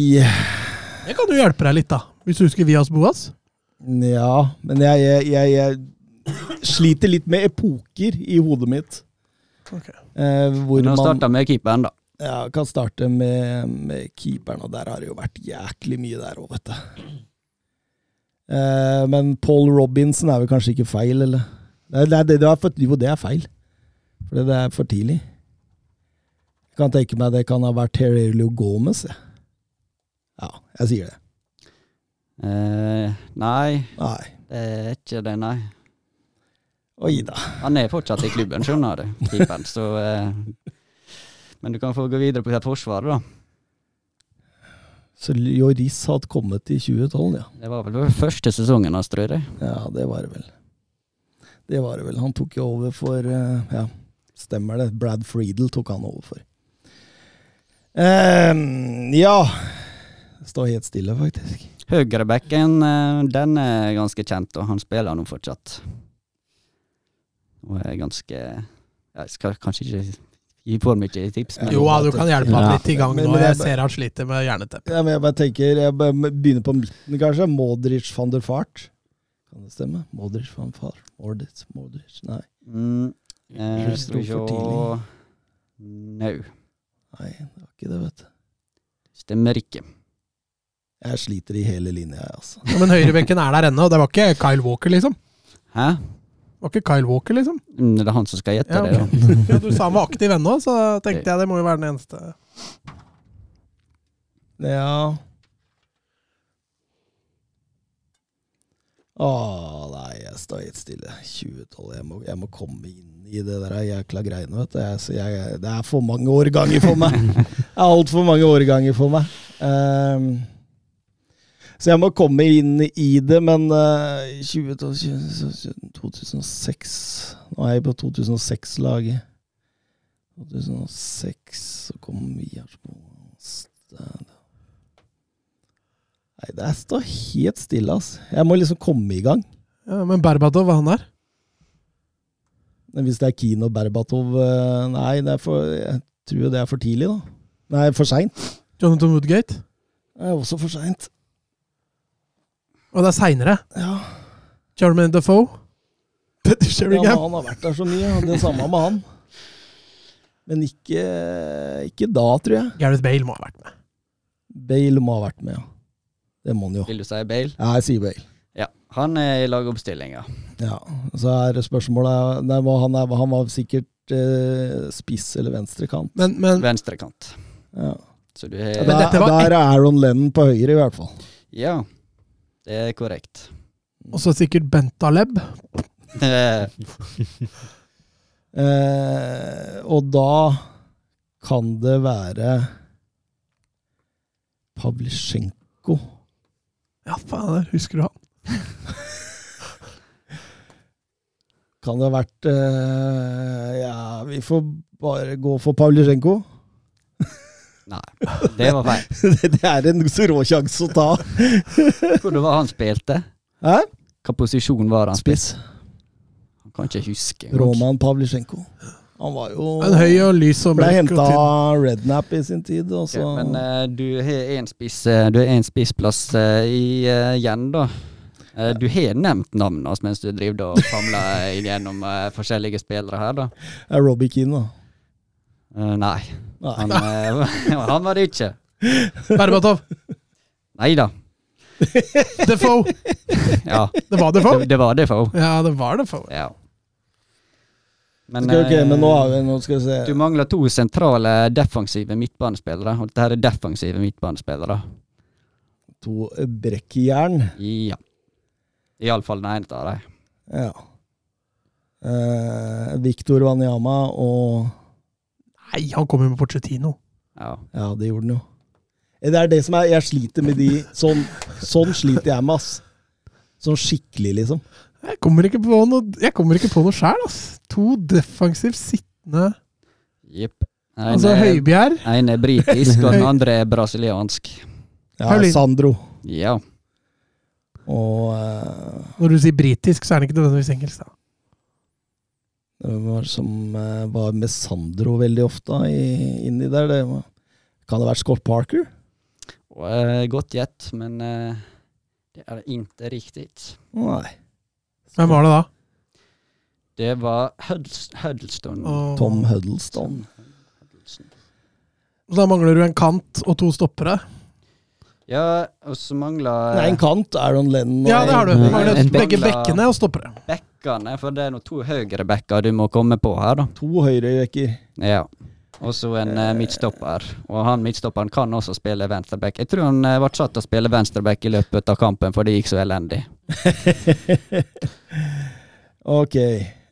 Speaker 3: Jeg kan jo hjelpe deg litt, da. Hvis du husker Vias Boas.
Speaker 2: Ja, men jeg, jeg, jeg, jeg sliter litt med epoker i hodet mitt.
Speaker 3: Ok.
Speaker 2: Eh, hvor
Speaker 4: Men han
Speaker 2: man
Speaker 4: starta med keeperen, da.
Speaker 2: ja, kan starte med, med keeperen, og der har det jo vært jæklig mye der òg, vet du. Eh, men Paul Robinson er vel kanskje ikke feil, eller? Nei, det, er- det, det er for, jo, det er feil. For det er for tidlig. Jeg kan tenke meg det kan ha vært Terelio Gomez, jeg. Ja, jeg sier det.
Speaker 4: Eh, nei,
Speaker 2: Nei.
Speaker 4: det er ikke det, nei.
Speaker 2: Oi da.
Speaker 4: Han er fortsatt i klubben, skjønner du, keeperen, så eh, Men du kan få gå videre på forsvaret, da.
Speaker 2: Så Joris hadde kommet i 2012, ja.
Speaker 4: Det var vel første sesongen hans, tror jeg.
Speaker 2: Ja, det var det vel. Det var det vel. Han tok jo over for eh, Ja, stemmer det. Brad Friedel tok han over for. Ehm, ja Det Står helt stille, faktisk.
Speaker 4: Høyrebekken, eh, den er ganske kjent, og han spiller nå fortsatt. Og er ganske Jeg skal kanskje ikke gi for mye tips, men
Speaker 3: Jo, ja, du kan hjelpe
Speaker 2: Ja.
Speaker 3: han litt i gang
Speaker 2: Men-
Speaker 3: nå.
Speaker 2: men
Speaker 3: Jeg
Speaker 2: jeg-
Speaker 3: ser han sliter med jerneteppe.
Speaker 2: Ja, men jeg bare tenker Jeg bare begynner på midten, kanskje. Modric van der Fart. Kan det stemme? Modric van Fart. Modric, Modric Nei.
Speaker 4: mm, eh,
Speaker 2: Sto
Speaker 4: Skal vi
Speaker 2: for
Speaker 4: se
Speaker 2: tidlig.
Speaker 4: Nei,
Speaker 2: Nei, det var ikke det, vet du.
Speaker 4: stemmer ikke.
Speaker 2: Jeg sliter i hele linja, jeg, altså.
Speaker 3: Ja, men høyrebenken er der ennå, og det var ikke Kyle Walker, liksom.
Speaker 4: Hæ?
Speaker 3: Det var ikke Kyle Walker, liksom.
Speaker 4: Mm, Det er han som skal gjette
Speaker 3: Ja,
Speaker 4: det, da.
Speaker 3: Ja, du sa han var aktiv ennå, så tenkte jeg det må jo være den eneste.
Speaker 2: Ja Åh, nei, jeg står helt stille. 2012, jeg må, jeg må komme inn i det der jækla greiene, vet du. Jeg, så jeg, det er for mange årganger for meg. Det er altfor mange årganger for meg. Ehm, så jeg må komme inn i det, men eh, 2012, 2012, 2006 Nå er jeg på 2006-laget. 2006, så kom vi her på Nei, det står helt stille, ass. Jeg må liksom komme i gang.
Speaker 3: Ja, men Berbatov, hva han er?
Speaker 2: Men Hvis det er Kino Berbatov eh, Nei, det er for, jeg tror jo det er for tidlig, da. Nei, for seint.
Speaker 3: Jonathan Woodgate?
Speaker 2: Det er også for seint.
Speaker 3: Og det er seinere.
Speaker 2: Ja.
Speaker 3: Jermaine Defoe. Petter
Speaker 2: ja, men
Speaker 3: Sheringham.
Speaker 2: han har vært der så mye. og Det samme med han. Men ikke, ikke da, tror jeg.
Speaker 3: Gareth Bale må ha vært med.
Speaker 2: Bale må ha vært med, ja. Det må han jo.
Speaker 4: Vil du si Bale?
Speaker 2: Ja, jeg sier Bale.
Speaker 4: Ja. Han er i lagoppstillinga.
Speaker 2: Ja. Så er spørsmålet nei, hva han, er, han var sikkert eh, spiss eller venstrekant.
Speaker 3: Men, men
Speaker 4: Venstrekant.
Speaker 2: Ja.
Speaker 4: Så du har
Speaker 2: Der,
Speaker 3: dette var
Speaker 2: der er Aaron Lennon på høyre, i hvert fall.
Speaker 4: Ja, det er korrekt.
Speaker 3: også sikkert Bentaleb.
Speaker 4: Eh,
Speaker 2: Eh, og da kan det være Pavlisjenko.
Speaker 3: Ja, fader, husker du han?
Speaker 2: Kan det ha vært eh, Ja, vi får bare gå for Pavlisjenko.
Speaker 4: nei, det var feil.
Speaker 2: det det er en så rå sjanse å ta.
Speaker 4: Hvor det var han spilte?
Speaker 2: Hæ?
Speaker 4: Hva posisjon var han spilt?
Speaker 2: Spiss.
Speaker 4: Han kan ikke huske. engang.
Speaker 2: Roman Pavlisjenko. Han var jo
Speaker 3: En høy og lys og
Speaker 2: Ble
Speaker 3: mørk og
Speaker 2: henta
Speaker 3: tynn.
Speaker 2: av Rednap i sin tid, og så
Speaker 4: Ok, Men eh, du har en spiss, eh, du har en spissplass eh, i, eh, igjen, da. Eh, du har nevnt navnet hans mens du driver da og famler gjennom eh, forskjellige spillere her, da.
Speaker 2: er Robbie Keane, da.
Speaker 4: Eh, nei,
Speaker 2: Nei.
Speaker 4: han, eh, han var det ikke.
Speaker 3: Berbatov.
Speaker 4: Nei da.
Speaker 3: Defoe.
Speaker 4: Ja,
Speaker 3: Det var Defoe.
Speaker 4: det, det var det for
Speaker 3: Ja, det var Defoe.
Speaker 4: Ja. Men,
Speaker 2: Skal, ok, men nå
Speaker 4: eh,
Speaker 2: har vi Nå skal vi se.
Speaker 4: Du mangler to sentrale defensive midtbanespillere. Og dette her er defensive midtbanespillere.
Speaker 2: To brekkjern.
Speaker 4: Ja. Iallfall den ene av dem.
Speaker 2: Ja. Eh, Victor Wanyama og
Speaker 3: Nei, han kom jo med Porcetino.
Speaker 4: Ja.
Speaker 2: Ja, det gjorde den jo. Eh, Det er det som er Jeg sliter med de Sånn, sånn sliter jeg med, ass. Sånn skikkelig, liksom.
Speaker 7: Jeg kommer ikke på noe, jeg kommer ikke på noe sjæl, ass. To defensivt sittende
Speaker 4: Jepp. Den
Speaker 7: Altså
Speaker 4: ene
Speaker 7: Høibjerg.
Speaker 4: er britisk, og den andre er brasiliansk.
Speaker 2: Ja,
Speaker 7: Paulin.
Speaker 2: Sandro.
Speaker 4: Ja.
Speaker 2: Og eh,
Speaker 7: Når du sier britisk, så er det ikke nødvendigvis engelsk. da.
Speaker 2: Hvem var det som eh, var med Sandro veldig ofte da, i, inni der? Det var, kan det ha vært Scott Parker?
Speaker 4: Og, eh, godt gjett, men eh, det er ikke riktig.
Speaker 2: Nei.
Speaker 7: Hvem var det da?
Speaker 4: Det var Huddles Huddleston.
Speaker 7: Og-
Speaker 2: Tom Huddleston.
Speaker 7: Så da mangler du en kant og to stoppere.
Speaker 4: Ja, og så mangler
Speaker 2: Nei, en kant. Aaron Lennon. og-
Speaker 7: Ja, det har du.
Speaker 4: Nei,
Speaker 7: Mangler
Speaker 4: en
Speaker 7: begge
Speaker 4: bekk.
Speaker 7: bekkene og stoppere.
Speaker 4: bekkene, for det er nå to høyrebekker du må komme på her, da.
Speaker 2: To høyrerekker.
Speaker 4: Ja. Og så en eh, midtstopper. Og han midtstopperen kan også spille venstreback. Jeg tror han eh, ble satt til å spille venstreback i løpet av kampen, for det gikk så elendig.
Speaker 2: Ok.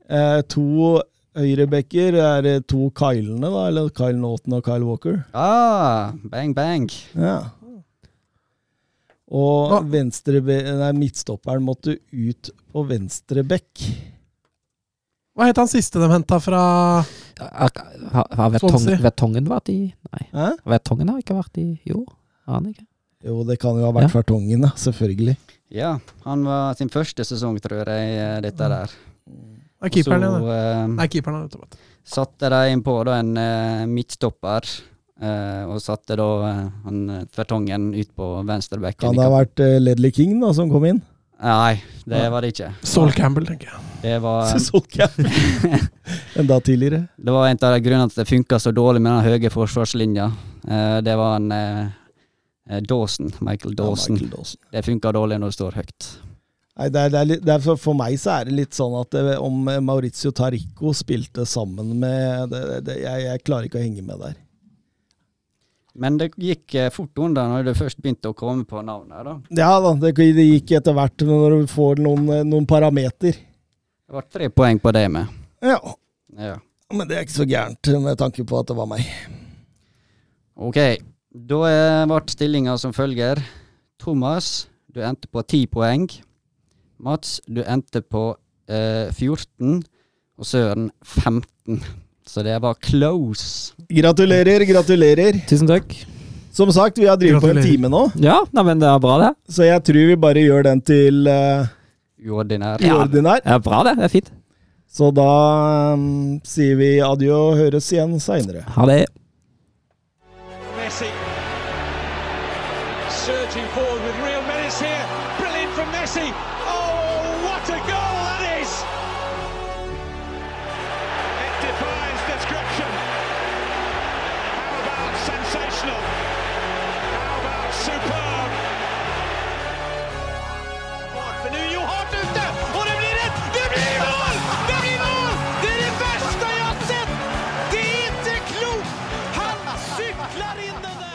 Speaker 2: Eh, to høyrebekker. Er det to Kylene, da? Eller Kyle Naughton og Kyle Walker?
Speaker 4: Ah, bang, bang.
Speaker 2: Ja. Og venstre, nei, midtstopperen måtte ut på venstre bekk.
Speaker 7: Hva het han siste de henta fra
Speaker 5: Har, har, har Vertong-
Speaker 7: Swansea.
Speaker 5: Vertongen vært i Nei,
Speaker 2: Hæ?
Speaker 5: Vertongen har ikke vært i Jo, har han ikke?
Speaker 2: Jo, det kan jo ha vært Fartongen, da, selvfølgelig.
Speaker 4: Ja, han var sin første sesong, tror jeg, eh, dette der.
Speaker 7: Nei, Mm. keeperen
Speaker 4: så
Speaker 7: igjen. da.
Speaker 4: eh,
Speaker 7: Nei, keeperen er ute. vet du.
Speaker 4: satte de innpå da en eh, midtstopper, eh, og satte da eh, han eh, Tvertongen ut på venstrebacken.
Speaker 2: Kan
Speaker 4: i
Speaker 2: det ha
Speaker 4: kamp-
Speaker 2: vært eh, Ledley King da, som kom inn?
Speaker 4: Nei, det var det ikke.
Speaker 7: Sol Campbell, tenker jeg.
Speaker 4: Det var
Speaker 2: Enda tidligere.
Speaker 4: Det var en av de grunnene til at det funka så dårlig med den høye forsvarslinja. Eh, det var en eh, eh, Dawson, Michael
Speaker 2: Ja,
Speaker 4: Dawson.
Speaker 2: Michael Dawson.
Speaker 4: Det funka dårlig når du står høyt.
Speaker 2: Nei, det er, det er, litt- det er for, for meg så er det litt sånn at det, om Maurizio Tarico spilte sammen med det, det, det, jeg, jeg klarer ikke å henge med der.
Speaker 4: Men det gikk eh, fort unna når du først begynte å komme på navnet. da.
Speaker 2: Ja da, det, det gikk etter hvert når du får noen, eh, noen parameter.
Speaker 4: Det ble tre poeng på det med.
Speaker 2: Ja,
Speaker 4: Ja.
Speaker 2: men det er ikke så gærent med tanke på at det var meg.
Speaker 4: Ok, da eh, ble stillinga som følger. Thomas, du endte på 10 poeng. Mats, du endte på eh, 14. Og Søren 15. Så det var close.
Speaker 2: Gratulerer, gratulerer.
Speaker 5: Tusen takk.
Speaker 2: Som sagt, vi har drevet på en
Speaker 7: Gratulerer.
Speaker 2: time nå,
Speaker 5: Ja, nei, men det er bra, det.
Speaker 2: så jeg tror vi bare gjør den til eh,
Speaker 4: Uordinær.
Speaker 2: uordinær.
Speaker 5: Det er bra, det. Det er fint.
Speaker 2: Så da mm, sier vi adjø og høres igjen seinere.
Speaker 5: Ha det.
Speaker 1: Messi. Surging forward with real menace here. Brilliant from Messi. Oh, what a goal that is! It defies description. How about sensational? How about superb? För nu är Johart ute och det blir ett... Det blir mål! Det blir mål! Det är det värsta jag har sett! Det är inte klokt! Han cyklar in den där!